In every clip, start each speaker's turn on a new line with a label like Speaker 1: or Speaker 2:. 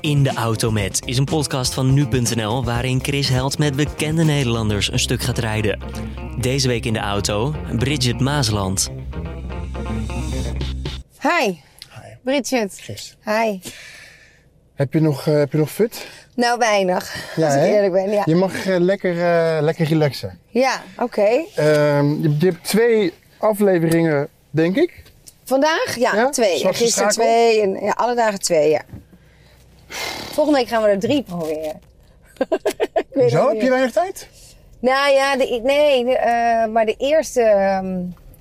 Speaker 1: In de Auto Met is een podcast van nu.nl waarin Chris Held met bekende Nederlanders een stuk gaat rijden. Deze week in de auto Bridget Maasland.
Speaker 2: Hi,
Speaker 3: Hi,
Speaker 2: Bridget.
Speaker 3: Chris.
Speaker 2: Hi.
Speaker 3: Heb je nog, eh, heb je nog fut?
Speaker 2: Nou, weinig. als ik
Speaker 3: hè?
Speaker 2: eerlijk ben, ja.
Speaker 3: Je mag eh, lekker, eh, lekker relaxen.
Speaker 2: Ja, oké.
Speaker 3: Ehm, je, je hebt twee afleveringen, denk ik.
Speaker 2: Vandaag? Ja,
Speaker 3: Ja?
Speaker 2: twee. En
Speaker 3: Zwart
Speaker 2: gisteren
Speaker 3: geschakeld?
Speaker 2: twee. En, ja, alle dagen twee, ja. Volgende week gaan we er drie proberen. Ik weet het
Speaker 3: Zo,
Speaker 2: niet
Speaker 3: heb je
Speaker 2: meer.
Speaker 3: weinig tijd?
Speaker 2: Nou ja, de, nee, de, eh, maar de eerste ehm,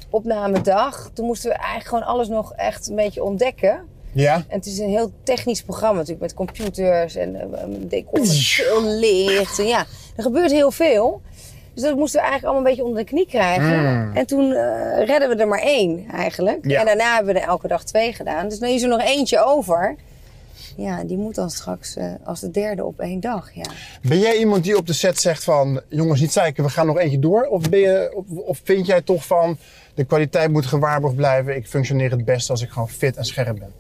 Speaker 2: opnamedag, toen moesten we eigenlijk gewoon alles nog echt een beetje ontdekken.
Speaker 3: Ja.
Speaker 2: En het is een heel technisch programma natuurlijk, met computers en eh, decor met veel licht. En ja, er gebeurt heel veel. Dus dat moesten we eigenlijk allemaal een beetje onder de knie krijgen. En toen eh, redden we er maar één eigenlijk.
Speaker 3: Ah. Ja.
Speaker 2: En daarna hebben we er elke dag twee gedaan. Dus nu is er nog eentje over. Ja, die moet dan straks eh, als de derde op één dag. Ja.
Speaker 3: Ben jij iemand die op de set zegt van, jongens niet zeiken, we gaan nog eentje door? Of, ben je, of, of vind jij toch van, de kwaliteit moet gewaarborgd blijven. Ik functioneer het best als ik gewoon fit en scherp ben.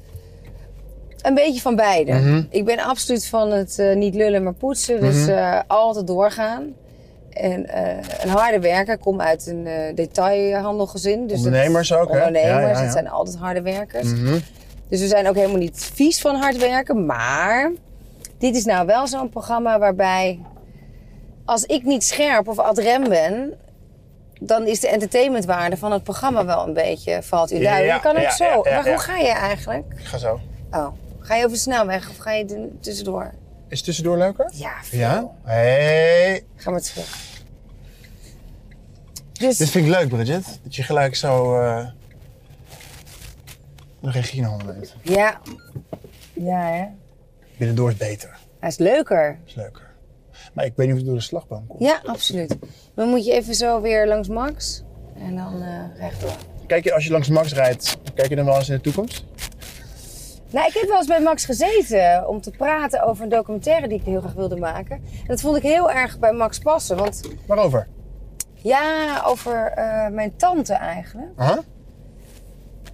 Speaker 2: Een beetje van beide.
Speaker 3: Mhm.
Speaker 2: Ik ben absoluut van het eh, niet lullen maar poetsen. Dus eh, altijd doorgaan. En eh, een harde werker. Ik kom uit een eh, detailhandelgezin. Dus dat-
Speaker 3: Ondernemers ook, hè?
Speaker 2: Ondernemers,
Speaker 3: Ja, ja, ja. Mhm.
Speaker 2: dat zijn altijd harde werkers. Dus we zijn ook helemaal niet vies van hard werken. Maar dit is nou wel zo'n programma waarbij... als ik niet scherp of ad rem ben... dan is de entertainmentwaarde van het programma wel een beetje... valt u
Speaker 3: Ja,
Speaker 2: duidelijk. dat kan ook
Speaker 3: ja,
Speaker 2: zo.
Speaker 3: ja, ja,
Speaker 2: maar
Speaker 3: ja.
Speaker 2: hoe ga je eigenlijk?
Speaker 3: Ik ga zo.
Speaker 2: Oh, ga je over de snelweg of ga je er tussendoor?
Speaker 3: Is tussendoor leuker?
Speaker 2: Ja, veel.
Speaker 3: Ja? Hey.
Speaker 2: Ga maar terug. Dus,
Speaker 3: Dit vind ik leuk, Bridget. Dat je gelijk zo eh de regie in handen neemt.
Speaker 2: ja. Ja, hè?
Speaker 3: Binnendoor is beter.
Speaker 2: Hij is leuker.
Speaker 3: is leuker. Maar ik weet niet of het door de slagboom komt.
Speaker 2: Ja, absoluut. Dan moet je even zo weer langs Max. En dan eh rechtdoor.
Speaker 3: Kijk je, als je langs Max rijdt, kijk je dan wel eens in de toekomst?
Speaker 2: Nou, ik heb wel eens bij Max gezeten om te praten over een documentaire die ik heel graag wilde maken. En dat vond ik heel erg bij Max passen. Want
Speaker 3: Waarover?
Speaker 2: ja, over eh, mijn tante eigenlijk.
Speaker 3: Aha,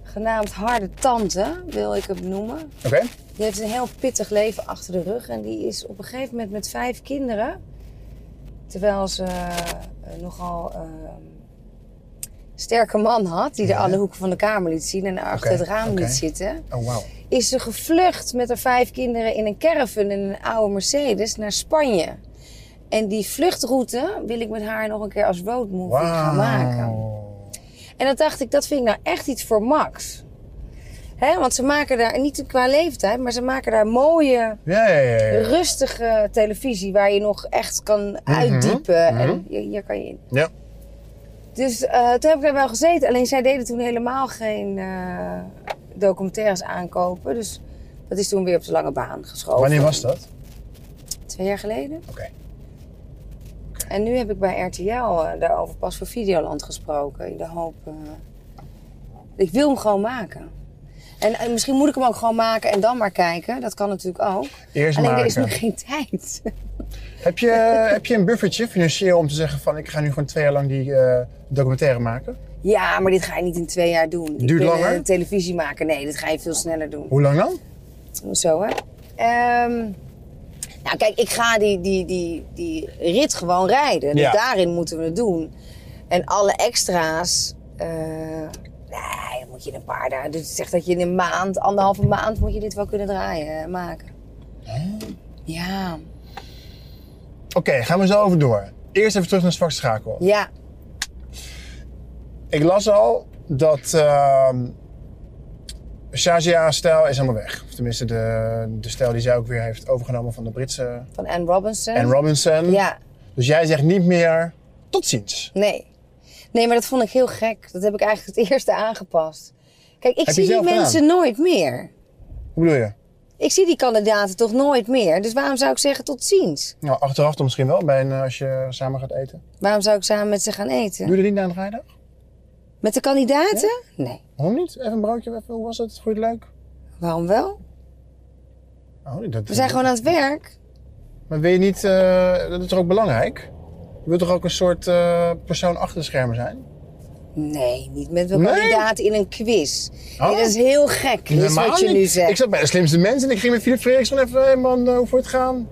Speaker 2: Genaamd Harde Tante wil ik hem noemen.
Speaker 3: oké.
Speaker 2: Die heeft een heel pittig leven achter de rug. En die is op een gegeven moment met vijf kinderen. Terwijl ze eh, nogal eh, sterke man had. Die de alle hoeken van de kamer liet zien. En achter
Speaker 3: Oké,
Speaker 2: het raam
Speaker 3: oké.
Speaker 2: liet zitten.
Speaker 3: Oh, wauw.
Speaker 2: Is ze gevlucht met haar vijf kinderen in een caravan en een oude Mercedes naar Spanje. En die vluchtroute wil ik met haar nog een keer als roadmovie gaan maken.
Speaker 3: Wauw.
Speaker 2: En dat dacht ik, dat vind ik nou echt iets voor Max. hè? want ze maken daar, en niet qua leeftijd, maar ze maken daar mooie,
Speaker 3: Ja, ja, ja. ja.
Speaker 2: rustige televisie waar je nog echt kan
Speaker 3: Mhm.
Speaker 2: uitdiepen. En hier, hier kan je in.
Speaker 3: Ja.
Speaker 2: Dus eh, toen heb ik daar wel gezeten. Alleen zij deden toen helemaal geen eh, documentaires aankopen. Dus dat is toen weer op de lange baan geschoven.
Speaker 3: Wanneer was dat?
Speaker 2: Twee jaar geleden.
Speaker 3: Oké.
Speaker 2: En nu heb ik bij RTL eh, daarover pas voor Videoland gesproken. In de hoop. eh, ik wil hem gewoon maken. En eh, misschien moet ik hem ook gewoon maken en dan maar kijken. Dat kan natuurlijk ook.
Speaker 3: Eerst
Speaker 2: Alleen er is
Speaker 3: maken.
Speaker 2: nu geen tijd.
Speaker 3: Heb, je, heb je een buffertje financieel om te zeggen van ik ga nu gewoon twee jaar lang die eh, documentaire maken?
Speaker 2: Ja, maar dit ga je niet in twee jaar doen. Ik
Speaker 3: Duurt
Speaker 2: ben,
Speaker 3: langer?
Speaker 2: eh, televisie maken. Nee, dit ga je veel sneller doen.
Speaker 3: Hoe lang dan?
Speaker 2: Zo hè. Ehm, nou kijk, ik ga die, die, die, die rit gewoon rijden. Dus
Speaker 3: Ja.
Speaker 2: daarin moeten we het doen. En alle extra's. eh, nee, moet je in een paar dagen. Dus zeg dat je in een maand, anderhalve maand, moet je dit wel kunnen draaien, eh, maken. Ja,
Speaker 3: Oké, gaan we zo over door. Eerst even terug naar Zwart Schakel.
Speaker 2: ja,
Speaker 3: Ik las al dat ehm Shazia-stijl is helemaal weg. Of tenminste, de, de stijl die zij ook weer heeft overgenomen van de Britse
Speaker 2: van Anne Robinson.
Speaker 3: en Robinson.
Speaker 2: Ja,
Speaker 3: Dus jij zegt niet meer tot ziens.
Speaker 2: nee. Nee, maar dat vond ik heel gek. Dat heb ik eigenlijk het eerste aangepast. Kijk, ik
Speaker 3: je
Speaker 2: zie die
Speaker 3: zelf gedaan?
Speaker 2: mensen nooit meer.
Speaker 3: Hoe bedoel je?
Speaker 2: Ik zie die kandidaten toch nooit meer. Dus waarom zou ik zeggen tot ziens?
Speaker 3: Nou, achteraf dan misschien wel bij een, eh, als je samen gaat eten.
Speaker 2: Waarom zou ik samen met ze gaan eten?
Speaker 3: Doe je dat niet na een rijdag?
Speaker 2: Met de kandidaten? Nee.
Speaker 3: Waarom niet? Even een broodje, even, hoe was het? Vond je het leuk?
Speaker 2: Waarom wel?
Speaker 3: Oh, dat,
Speaker 2: We zijn gewoon aan het werk.
Speaker 3: Maar weet je niet, eh, dat is toch ook belangrijk? Je wilt toch ook een soort eh, persoon achter de schermen zijn?
Speaker 2: Nee, niet met een
Speaker 3: Nee?
Speaker 2: kandidaat in een quiz.
Speaker 3: Oh.
Speaker 2: Nee, dat is heel gek, is
Speaker 3: Helemaal
Speaker 2: wat je
Speaker 3: niet.
Speaker 2: nu zegt.
Speaker 3: Ik zat bij de slimste mensen en ik ging met Philip Freeriks van even, hey man, eh, hoe voor het gaan?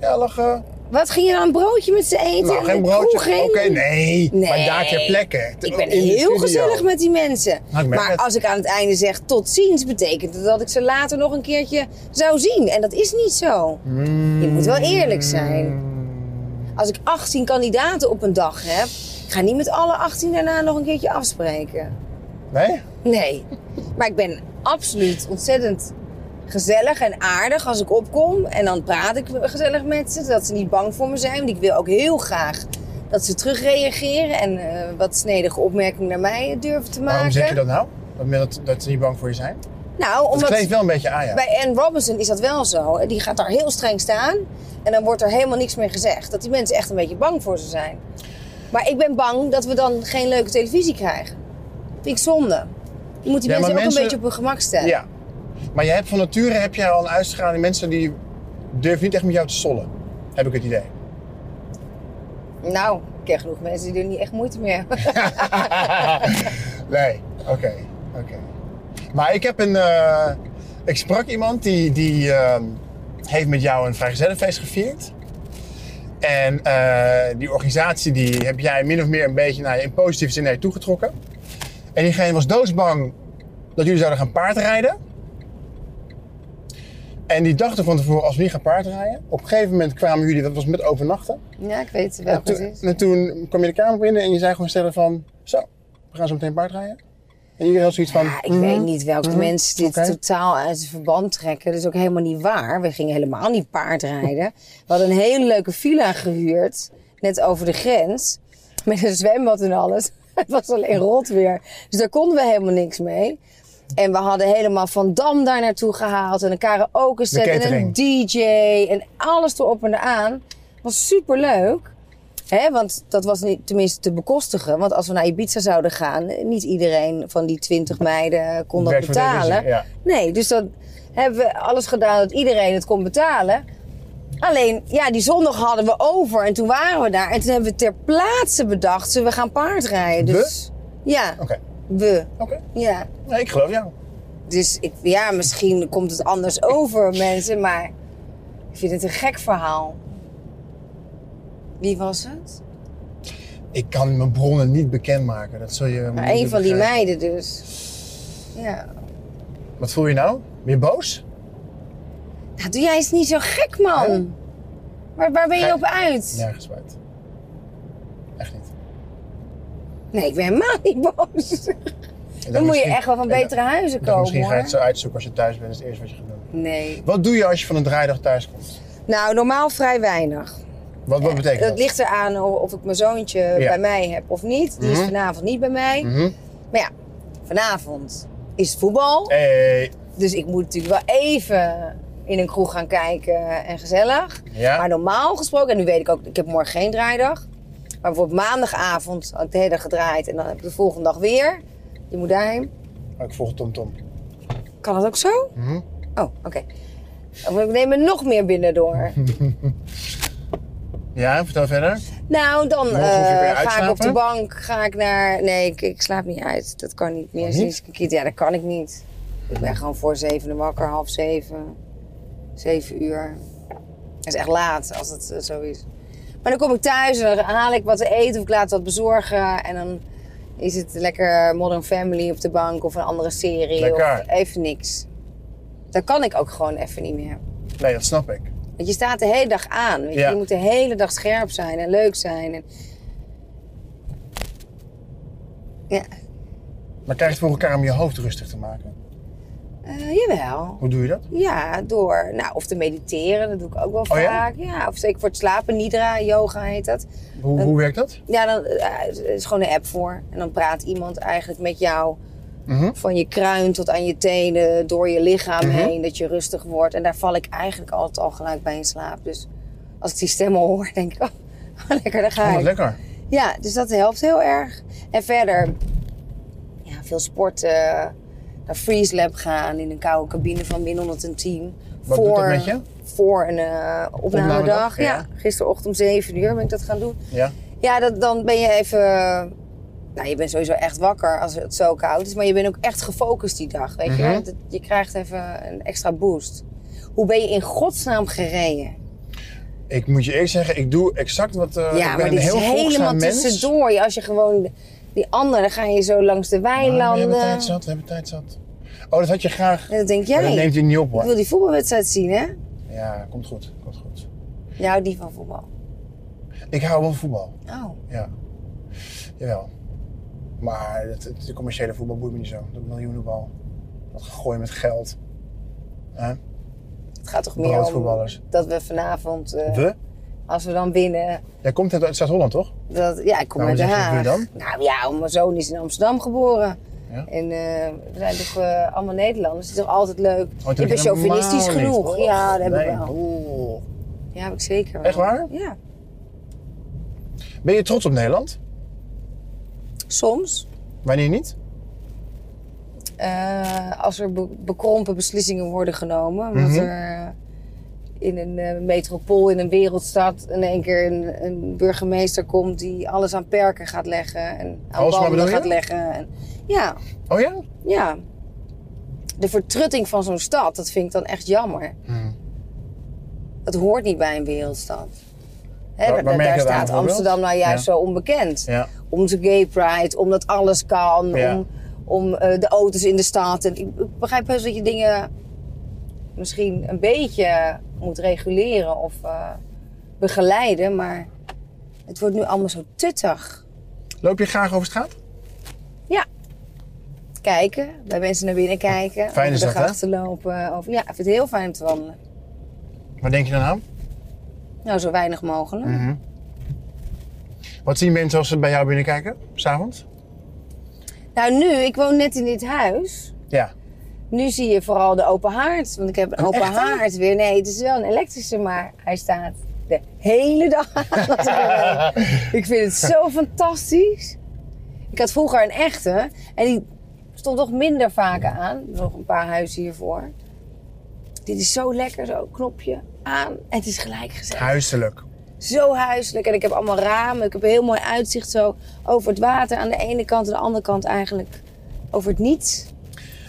Speaker 3: Ja, lachen.
Speaker 2: Wat ging je dan een broodje met ze eten?
Speaker 3: Nou,
Speaker 2: En
Speaker 3: geen
Speaker 2: de
Speaker 3: broodje.
Speaker 2: kroeg in?
Speaker 3: Oké, nee.
Speaker 2: Nee.
Speaker 3: Maar daar ter plekke.
Speaker 2: Ik ben
Speaker 3: Oh, In de
Speaker 2: heel
Speaker 3: studio.
Speaker 2: gezellig met die mensen.
Speaker 3: Nou, ik merk
Speaker 2: maar
Speaker 3: het.
Speaker 2: als ik aan het einde zeg tot ziens, betekent dat dat ik ze later nog een keertje zou zien. En dat is niet zo.
Speaker 3: Hmm.
Speaker 2: Je moet wel eerlijk
Speaker 3: Mm.
Speaker 2: zijn. Als ik 18 kandidaten op een dag heb, ik ga niet met alle 18 daarna nog een keertje afspreken.
Speaker 3: Nee?
Speaker 2: Nee. Maar ik ben absoluut ontzettend gezellig en aardig als ik opkom. En dan praat ik gezellig met ze, dat ze niet bang voor me zijn. Want ik wil ook heel graag dat ze terugreageren en eh, wat snedige opmerkingen naar mij durven te maken.
Speaker 3: Waarom zeg je dat nou? Dat, men- dat, dat ze niet bang voor je zijn?
Speaker 2: Nou,
Speaker 3: Het
Speaker 2: omdat
Speaker 3: kleeft wel een beetje aan, ja.
Speaker 2: bij Anne Robinson is dat wel zo. Die gaat daar heel streng staan en dan wordt er helemaal niks meer gezegd. Dat die mensen echt een beetje bang voor ze zijn. Maar ik ben bang dat we dan geen leuke televisie krijgen. Vind ik zonde. Je moet die
Speaker 3: Ja, maar
Speaker 2: mensen ook
Speaker 3: mensen-
Speaker 2: een beetje op hun gemak stellen.
Speaker 3: Ja. Maar je hebt van nature heb jij al een uitstraling. Mensen die durven niet echt met jou te sollen. Heb ik het idee.
Speaker 2: Nou, ik ken genoeg mensen die doen niet echt moeite meer hebben.
Speaker 3: nee, oké. oké. Maar ik heb een. eh, ik sprak iemand die, die eh, heeft met jou een vrijgezellenfeest gevierd. En eh, die organisatie die heb jij min of meer een beetje naar je, in positieve zin naar je toegetrokken. En diegene was doodsbang dat jullie zouden gaan paardrijden. En die dachten van tevoren, als we niet gaan paardrijden. Op een gegeven moment kwamen jullie, dat was met overnachten.
Speaker 2: Ja, ik weet wel
Speaker 3: En toen, en toen kwam je de kamer binnen en je zei gewoon stellen van... Zo, we gaan zo meteen paardrijden. En jullie hadden zoiets van...
Speaker 2: ik
Speaker 3: mhm.
Speaker 2: weet niet welke mensen dit
Speaker 3: oké.
Speaker 2: totaal uit het verband trekken. Dat is ook helemaal niet waar. We gingen helemaal niet paardrijden. We hadden een hele leuke villa gehuurd, net over de grens. Met een zwembad en alles. Het was alleen rot weer. Dus daar konden we helemaal niks mee. En we hadden helemaal Van Dam daar naartoe gehaald. En een karaoke set en een
Speaker 3: catering.
Speaker 2: DJ. En alles erop en eraan. Was super leuk. Hè, want dat was niet, tenminste te bekostigen. Want als we naar Ibiza zouden gaan, eh, niet iedereen van die 20 meiden kon dat
Speaker 3: Werkt voor
Speaker 2: betalen.
Speaker 3: televisie, ja.
Speaker 2: Nee, dus dan hebben we alles gedaan dat iedereen het kon betalen. Alleen, ja, die zondag hadden we over en toen waren we daar. En toen hebben we ter plaatse bedacht, zullen we gaan paardrijden.
Speaker 3: We?
Speaker 2: Dus, Ja,
Speaker 3: Oké,
Speaker 2: we.
Speaker 3: oké.
Speaker 2: Ja.
Speaker 3: Nee, ik geloof jou.
Speaker 2: Dus ik, ja, misschien komt het anders over mensen, maar ik vind het een gek verhaal. Wie was het?
Speaker 3: Ik kan mijn bronnen niet bekendmaken. Dat zul je...
Speaker 2: Maar
Speaker 3: moeten
Speaker 2: een van die
Speaker 3: begrijpen.
Speaker 2: meiden dus. Ja.
Speaker 3: Wat voel je nou? Weer boos?
Speaker 2: Nou, doe jij eens niet zo gek, man. Waar, waar ben je
Speaker 3: Gek?
Speaker 2: op uit?
Speaker 3: Nergens buiten. Echt niet.
Speaker 2: Nee, ik ben helemaal niet boos.
Speaker 3: Ik
Speaker 2: Dan
Speaker 3: dacht
Speaker 2: moet je
Speaker 3: misschien-
Speaker 2: echt wel van
Speaker 3: ik dacht-
Speaker 2: betere huizen
Speaker 3: ik dacht,
Speaker 2: komen,
Speaker 3: Misschien ga je het zo
Speaker 2: hoor.
Speaker 3: uitzoeken als je thuis bent. Dat is het eerste wat je gaat doen.
Speaker 2: Nee.
Speaker 3: Wat doe je als je van een draaidag thuis komt?
Speaker 2: Nou, normaal vrij weinig.
Speaker 3: Wat, wat betekent dat?
Speaker 2: Eh, Dat ligt eraan of of ik mijn zoontje bij mij heb of niet. Die is
Speaker 3: Mhm.
Speaker 2: vanavond niet bij mij.
Speaker 3: Mhm.
Speaker 2: Maar ja, vanavond is het voetbal.
Speaker 3: Hey,
Speaker 2: Dus ik moet natuurlijk wel even in een kroeg gaan kijken en gezellig.
Speaker 3: Ja.
Speaker 2: Maar normaal gesproken, en nu weet ik ook, ik heb morgen geen draaidag. Maar bijvoorbeeld maandagavond had ik de hele dag gedraaid en dan heb ik de volgende dag weer. Je moet daarheen.
Speaker 3: oh, ik volg TomTom.
Speaker 2: Kan dat ook zo?
Speaker 3: Mhm.
Speaker 2: Oh, oké. Dan moet ik nemen nog meer binnendoor.
Speaker 3: Ja, vertel verder.
Speaker 2: Nou, dan
Speaker 3: Morgen moet je
Speaker 2: eh,
Speaker 3: weer
Speaker 2: ga ik op
Speaker 3: uitslapen?
Speaker 2: de bank, ga ik naar... Nee, ik, ik slaap niet uit. Dat kan niet meer.
Speaker 3: Niet?
Speaker 2: Sinds ik een kind- Ja, dat kan ik niet. Ik ben gewoon voor zeven wakker, half zeven. Zeven uur. Dat is echt laat als het eh, zo is. Maar dan kom ik thuis en dan haal ik wat te eten of ik laat wat bezorgen. En dan is het lekker Modern Family op de bank of een andere serie.
Speaker 3: Lekker.
Speaker 2: Of even niks. Dat kan ik ook gewoon even niet meer.
Speaker 3: Nee, dat snap ik.
Speaker 2: Want je staat de hele dag aan. Weet je?
Speaker 3: Ja.
Speaker 2: je moet de hele dag scherp zijn en leuk zijn. En... Ja,
Speaker 3: Maar krijg je het voor elkaar om je hoofd rustig te maken?
Speaker 2: eh, jawel.
Speaker 3: Hoe doe je dat?
Speaker 2: Ja, door. Nou, of te mediteren, dat doe ik ook wel
Speaker 3: Oh ja?
Speaker 2: vaak. Ja? of zeker voor het slapen. Nidra, yoga heet dat.
Speaker 3: Hoe, hoe werkt dat?
Speaker 2: Ja, dan eh, er is gewoon een app voor. En dan praat iemand eigenlijk met jou.
Speaker 3: Mhm.
Speaker 2: Van je kruin tot aan je tenen, door je lichaam heen, dat je rustig wordt. En daar val ik eigenlijk altijd al gelijk bij in slaap. Dus als ik die stemmen hoor, denk ik, oh, lekker, daar ga
Speaker 3: Oh,
Speaker 2: ik.
Speaker 3: wat lekker.
Speaker 2: Ja, dus dat helpt heel erg. En verder, ja, veel sporten. Naar Freeze Lab gaan in een koude cabine van min 110.
Speaker 3: Wat doet dat met je?
Speaker 2: Voor een eh opnamedag.
Speaker 3: Opnamedag,
Speaker 2: Ja.
Speaker 3: ja.
Speaker 2: gisterochtend om 7 uur ben ik dat gaan doen.
Speaker 3: Ja.
Speaker 2: Ja, dat, dan ben je even Nou, je bent sowieso echt wakker als het zo koud is. Maar je bent ook echt gefocust die dag, weet je.
Speaker 3: Mhm.
Speaker 2: Dat- Je krijgt even een extra boost. Hoe ben je in godsnaam gereden?
Speaker 3: Ik moet je eerlijk zeggen, ik doe exact wat... eh,
Speaker 2: ja,
Speaker 3: ik
Speaker 2: maar
Speaker 3: ben
Speaker 2: dit
Speaker 3: een
Speaker 2: is
Speaker 3: heel
Speaker 2: helemaal
Speaker 3: volgzaam mens.
Speaker 2: tussendoor. Ja, Als je gewoon die andere, dan ga je zo langs de
Speaker 3: Maar Oh, we
Speaker 2: weilanden.
Speaker 3: hebben tijd zat, we hebben tijd zat. Oh, dat had je graag.
Speaker 2: En dat denk jij.
Speaker 3: Maar dat neemt hij niet op
Speaker 2: Ik wil
Speaker 3: hoor.
Speaker 2: die voetbalwedstrijd zien, hè?
Speaker 3: Ja, komt goed, komt goed.
Speaker 2: Je houdt niet van voetbal.
Speaker 3: Ik hou wel van voetbal,
Speaker 2: Oh.
Speaker 3: ja. Jawel. Maar het, het- de commerciële voetbal boeit me niet zo. Dat miljoenenbal. Dat gooi met geld. Hè?
Speaker 2: Het gaat toch meer om
Speaker 3: Broodvoetballers.
Speaker 2: dat we vanavond, eh,
Speaker 3: We?
Speaker 2: als we dan winnen...
Speaker 3: Jij komt uit Zuid-Holland toch?
Speaker 2: Dat, ja, ik kom
Speaker 3: Waarom
Speaker 2: uit Den
Speaker 3: zeg je
Speaker 2: Haag.
Speaker 3: we dan?
Speaker 2: Nou ja, mijn zoon is in Amsterdam geboren.
Speaker 3: Ja.
Speaker 2: En eh, we zijn toch eh, allemaal Nederlanders. Het is toch altijd leuk.
Speaker 3: dat
Speaker 2: ik
Speaker 3: Oh, heb
Speaker 2: ben
Speaker 3: ik helemaal
Speaker 2: chauvinistisch
Speaker 3: niet.
Speaker 2: genoeg. ja, dat heb
Speaker 3: Nee. Oh.
Speaker 2: ik wel.
Speaker 3: Oeh.
Speaker 2: Ja, heb ik zeker wel.
Speaker 3: Echt waar?
Speaker 2: Ja.
Speaker 3: Ben je trots op Nederland?
Speaker 2: Soms,
Speaker 3: Wanneer niet?
Speaker 2: eh, als er be- bekrompen beslissingen worden genomen, omdat
Speaker 3: Mhm.
Speaker 2: er in een eh, metropool, in een wereldstad, in één keer een, een burgemeester komt die alles aan perken gaat leggen en aan
Speaker 3: Halsema
Speaker 2: banden
Speaker 3: bedoel je?
Speaker 2: gaat leggen. En, ja,
Speaker 3: Oh ja?
Speaker 2: ja. De vertrutting van zo'n stad, dat vind ik dan echt jammer.
Speaker 3: Hm.
Speaker 2: Dat hoort niet bij een wereldstad. Hè,
Speaker 3: Waar-
Speaker 2: daar-
Speaker 3: waar merk
Speaker 2: daar
Speaker 3: je dat aan
Speaker 2: staat
Speaker 3: bijvoorbeeld?
Speaker 2: Amsterdam nou juist
Speaker 3: Ja.
Speaker 2: zo onbekend.
Speaker 3: Ja.
Speaker 2: om de gay pride, omdat alles kan,
Speaker 3: Ja.
Speaker 2: om, om eh, de auto's in de stad. En ik, ik begrijp heus dat je dingen misschien een beetje moet reguleren of eh, begeleiden, maar het wordt nu allemaal zo tuttig.
Speaker 3: Loop je graag over straat?
Speaker 2: Kijken, bij mensen naar binnen kijken,
Speaker 3: Fijn
Speaker 2: over
Speaker 3: is
Speaker 2: de
Speaker 3: dat, hè?
Speaker 2: grachten lopen. Over, ja, ik vind het heel fijn om te wandelen.
Speaker 3: Waar denk je dan aan?
Speaker 2: Nou, zo weinig mogelijk.
Speaker 3: Mhm. Wat zien mensen als ze bij jou binnenkijken? S'avonds?
Speaker 2: Nou, nu, ik woon net in dit huis.
Speaker 3: Ja.
Speaker 2: Nu zie je vooral de open haard. Want ik heb een, open
Speaker 3: echte?
Speaker 2: haard weer. Nee, het is wel een elektrische, maar hij staat de hele dag aan. het werk. ik vind het zo fantastisch. Ik had vroeger een echte. En die stond toch minder vaak aan. Nog een paar huizen hiervoor. Dit is zo lekker, zo knopje aan. En het is gelijk gezet
Speaker 3: Huiselijk.
Speaker 2: zo huiselijk. En ik heb allemaal ramen. Ik heb een heel mooi uitzicht zo over het water aan de ene kant. En de andere kant eigenlijk over het niets.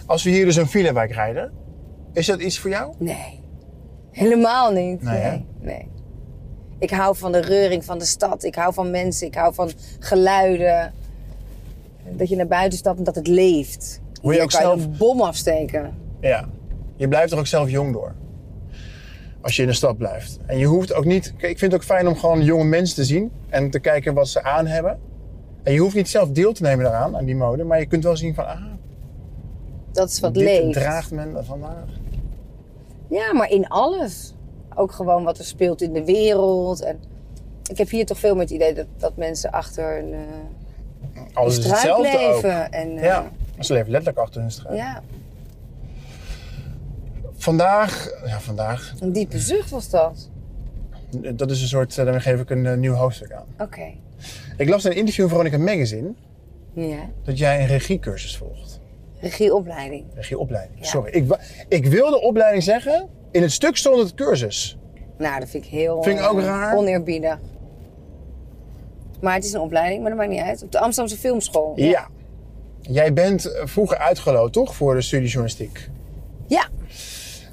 Speaker 3: Als we hier dus een filewijk rijden, is dat iets voor jou?
Speaker 2: Nee. Helemaal niet.
Speaker 3: Nee,
Speaker 2: Nee,
Speaker 3: hè?
Speaker 2: nee. Ik hou van de reuring van de stad. Ik hou van mensen. Ik hou van geluiden. Dat je naar buiten stapt en dat het leeft.
Speaker 3: Wil je
Speaker 2: Hier
Speaker 3: ook
Speaker 2: kan
Speaker 3: zelf-
Speaker 2: je een bom afsteken.
Speaker 3: Ja. Je blijft er ook zelf jong door. Als je in de stad blijft. En je hoeft ook niet. Kijk, ik vind het ook fijn om gewoon jonge mensen te zien en te kijken wat ze aan hebben. En je hoeft niet zelf deel te nemen daaraan, aan die mode, maar je kunt wel zien van, ah,
Speaker 2: Dat is wat
Speaker 3: dit
Speaker 2: leeft.
Speaker 3: draagt men vandaag.
Speaker 2: Ja, maar in alles. Ook gewoon wat er speelt in de wereld. En ik heb hier toch veel met het idee dat, dat mensen achter een eh,
Speaker 3: Alles is
Speaker 2: struik
Speaker 3: hetzelfde ook.
Speaker 2: leven. En, eh,
Speaker 3: Ja, ze leven letterlijk achter hun straat.
Speaker 2: ja,
Speaker 3: Vandaag, ja vandaag,
Speaker 2: een diepe zucht was dat.
Speaker 3: dat is een soort, eh, daar geef ik een eh, nieuw hoofdstuk aan.
Speaker 2: Oké.
Speaker 3: Ik las in een interview in Veronica Magazine
Speaker 2: Ja.
Speaker 3: dat jij een regiecursus volgt.
Speaker 2: Regieopleiding.
Speaker 3: Regieopleiding,
Speaker 2: Ja.
Speaker 3: sorry. Ik, wa- ik wilde opleiding zeggen, in het stuk stond het cursus.
Speaker 2: Nou, dat vind ik heel
Speaker 3: Vind ik ook
Speaker 2: eh,
Speaker 3: raar.
Speaker 2: oneerbiedig. Maar het is een opleiding, maar dat maakt niet uit. Op de Amsterdamse Filmschool.
Speaker 3: Ja. Jij bent eh, vroeger uitgeloot, toch, voor de studie journalistiek?
Speaker 2: Ja.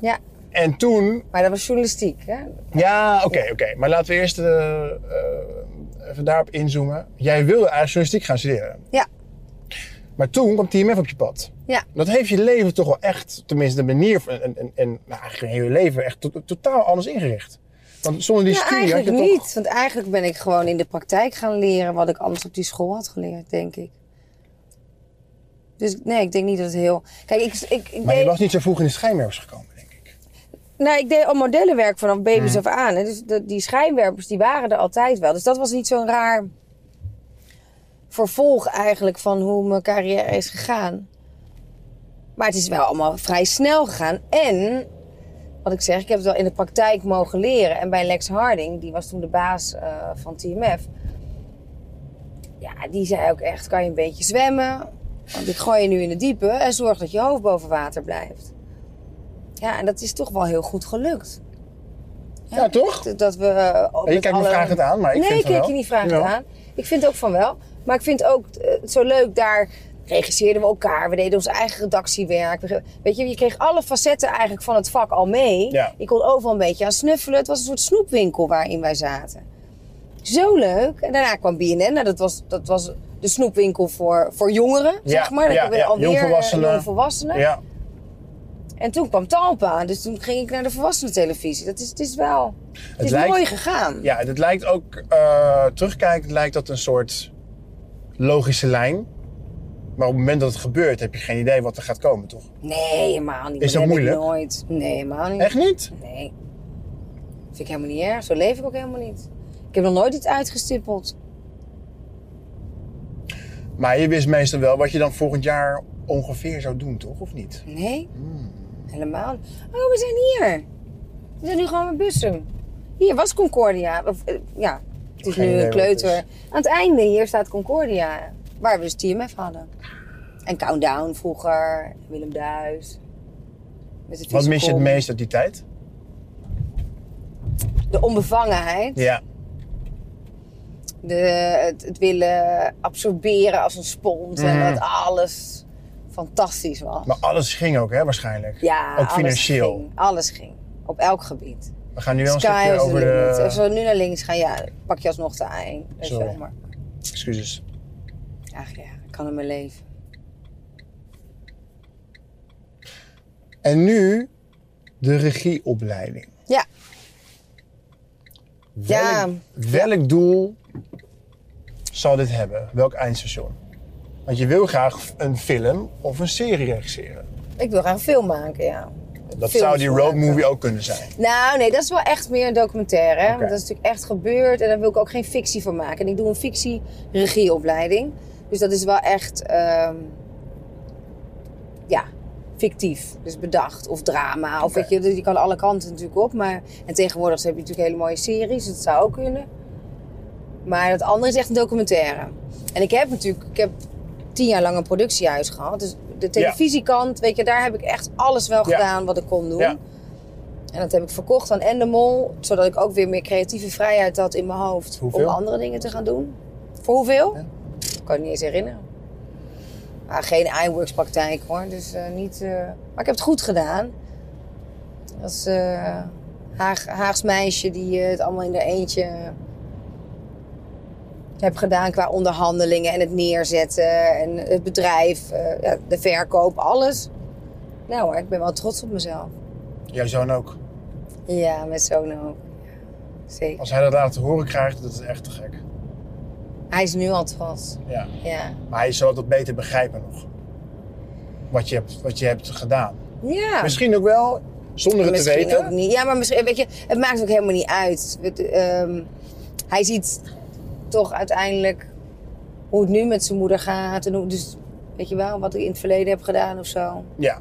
Speaker 2: Ja,
Speaker 3: En toen,
Speaker 2: maar dat was journalistiek, hè?
Speaker 3: ja, oké, oké. Maar laten we eerst eh, eh, even daarop inzoomen. Jij wilde eigenlijk journalistiek gaan studeren.
Speaker 2: Ja.
Speaker 3: Maar toen kwam TMF op je pad.
Speaker 2: Ja.
Speaker 3: Dat heeft je leven toch wel echt, tenminste de manier van, en, en, en nou, eigenlijk je hele leven echt to- totaal anders ingericht. Want zonder die
Speaker 2: ja,
Speaker 3: studie had
Speaker 2: Nou, eigenlijk
Speaker 3: je toch...
Speaker 2: niet. Want eigenlijk ben ik gewoon in de praktijk gaan leren wat ik anders op die school had geleerd, denk ik. Dus nee, ik denk niet dat het heel... Kijk, ik, ik, ik
Speaker 3: Maar je
Speaker 2: deed-
Speaker 3: was niet zo vroeg in de schijnwerpers gekomen, denk ik.
Speaker 2: Nou, ik deed al modellenwerk vanaf baby's af aan. hè. Dus de- die schijnwerpers die waren er altijd wel. Dus dat was niet zo'n raar vervolg eigenlijk van hoe mijn carrière is gegaan. Maar het is wel allemaal vrij snel gegaan. En, wat ik zeg, ik heb het wel in de praktijk mogen leren. En bij Lex Harding, die was toen de baas eh, van TMF. Ja, die zei ook echt, kan je een beetje zwemmen? Want ik gooi je nu in de diepe en zorg dat je hoofd boven water blijft. Ja, en dat is toch wel heel goed gelukt.
Speaker 3: Ja, toch?
Speaker 2: Dat we, eh,
Speaker 3: je
Speaker 2: met
Speaker 3: kijkt me
Speaker 2: alle-
Speaker 3: vragend aan, maar ik
Speaker 2: nee,
Speaker 3: vind
Speaker 2: ik
Speaker 3: van
Speaker 2: kijk
Speaker 3: wel.
Speaker 2: je niet vragend
Speaker 3: Jawel.
Speaker 2: aan. Ik vind ook van wel. Maar ik vind ook eh, het zo leuk, daar regisseerden we elkaar. We deden ons eigen redactiewerk. We ge- Weet je, je kreeg alle facetten eigenlijk van het vak al mee.
Speaker 3: Ja.
Speaker 2: Je kon overal een beetje aan snuffelen. Het was een soort snoepwinkel waarin wij zaten. Zo leuk. En daarna kwam BNN. Nou, dat, was, dat was de snoepwinkel voor, voor jongeren, zeg maar. Dan
Speaker 3: ja,
Speaker 2: hebben we
Speaker 3: ja.
Speaker 2: alweer eh,
Speaker 3: Jongvolwassenen.
Speaker 2: jongvolwassenen.
Speaker 3: Ja.
Speaker 2: En toen kwam Talpa. Dus toen ging ik naar de volwassenentelevisie. Dat is, het is wel... Het, is
Speaker 3: lijkt-
Speaker 2: mooi gegaan.
Speaker 3: Ja, en het lijkt ook, eh terugkijkend lijkt dat een soort logische lijn. Maar op het moment dat het gebeurt, heb je geen idee wat er gaat komen, toch?
Speaker 2: Nee, helemaal niet.
Speaker 3: Is dat
Speaker 2: heb ik
Speaker 3: moeilijk?
Speaker 2: nooit. Nee, helemaal niet.
Speaker 3: Echt niet?
Speaker 2: Nee. Vind ik helemaal niet erg. Zo leef ik ook helemaal niet. Ik heb nog nooit iets uitgestippeld.
Speaker 3: Maar je wist meestal wel wat je dan volgend jaar ongeveer zou doen, toch? Of niet?
Speaker 2: Nee.
Speaker 3: Hmm.
Speaker 2: Helemaal niet. Oh, we zijn hier. We zijn nu gewoon met bussen. Hier was Concordia. Of, eh, ja, het is
Speaker 3: Geen
Speaker 2: nu
Speaker 3: idee
Speaker 2: een
Speaker 3: wat het
Speaker 2: kleuter.
Speaker 3: is.
Speaker 2: Aan het einde hier staat Concordia. Waar we dus TMF hadden. En Countdown vroeger. Willem Duis. Met de
Speaker 3: Wat mis je het
Speaker 2: Vissekom.
Speaker 3: meest uit die tijd?
Speaker 2: De onbevangenheid.
Speaker 3: Ja.
Speaker 2: de, het, het willen absorberen als een spons. En
Speaker 3: Mhm.
Speaker 2: dat alles fantastisch was.
Speaker 3: Maar alles ging ook, hè, waarschijnlijk.
Speaker 2: ja,
Speaker 3: ook financieel.
Speaker 2: Alles ging, alles ging. Op elk gebied.
Speaker 3: We gaan nu wel een
Speaker 2: Sky
Speaker 3: stukje
Speaker 2: was
Speaker 3: over
Speaker 2: de limit. Als
Speaker 3: de...
Speaker 2: we nu naar links gaan, ja, pak je alsnog de ei. Weet je
Speaker 3: Sorry.
Speaker 2: wel, maar
Speaker 3: Excuses.
Speaker 2: eigenlijk ja, ik kan in mijn leven.
Speaker 3: En nu de regieopleiding.
Speaker 2: Ja,
Speaker 3: Welk,
Speaker 2: Ja.
Speaker 3: welk doel zal dit hebben? Welk eindstation? Want je wil graag een film of een serie regisseren.
Speaker 2: ik wil graag een film maken, ja.
Speaker 3: Dat
Speaker 2: Films
Speaker 3: zou die road
Speaker 2: maken.
Speaker 3: movie ook kunnen zijn.
Speaker 2: Nou, nee, dat is wel echt meer een documentaire. hè.
Speaker 3: Oké.
Speaker 2: Want dat is natuurlijk echt gebeurd en daar wil ik ook geen fictie van maken. En ik doe een fictie-regieopleiding. Dus dat is wel echt, ehm, ja, fictief. Dus bedacht of drama. Of weet je, dus je kan alle kanten natuurlijk op. Maar, en tegenwoordig heb je natuurlijk hele mooie series, dat zou ook kunnen. Maar dat andere is echt een documentaire. En ik heb natuurlijk, ik heb tien jaar lang een productiehuis gehad. Dus de televisiekant, weet je, daar heb ik echt alles wel
Speaker 3: Ja.
Speaker 2: gedaan wat ik kon doen.
Speaker 3: Ja.
Speaker 2: En dat heb ik verkocht aan Endemol, zodat ik ook weer meer creatieve vrijheid had in mijn hoofd
Speaker 3: Hoeveel?
Speaker 2: om andere dingen te gaan doen. Voor hoeveel? Ik kan het niet eens herinneren. Maar geen iWorks praktijk hoor, dus eh, niet. eh, Maar ik heb het goed gedaan. Als eh Haag, Haags meisje die eh, het allemaal in de eentje eh, heb gedaan qua onderhandelingen en het neerzetten en het bedrijf, eh, ja, de verkoop, alles. Nou hoor, ik ben wel trots op mezelf.
Speaker 3: Jouw zoon ook.
Speaker 2: Ja, met zo'n ook. Zeker.
Speaker 3: Als hij dat later te horen krijgt, dat is echt te gek.
Speaker 2: Hij is nu al trots.
Speaker 3: Ja.
Speaker 2: Ja.
Speaker 3: Maar hij zal dat beter begrijpen nog. Wat je hebt, wat je hebt gedaan.
Speaker 2: Ja.
Speaker 3: Misschien ook wel, zonder het
Speaker 2: Misschien
Speaker 3: te weten.
Speaker 2: ook niet. Ja, maar misschien, weet je, het maakt ook helemaal niet uit. Het, ehm, hij ziet toch uiteindelijk hoe het nu met zijn moeder gaat. En hoe, dus weet je wel, wat ik in het verleden heb gedaan of zo.
Speaker 3: Ja.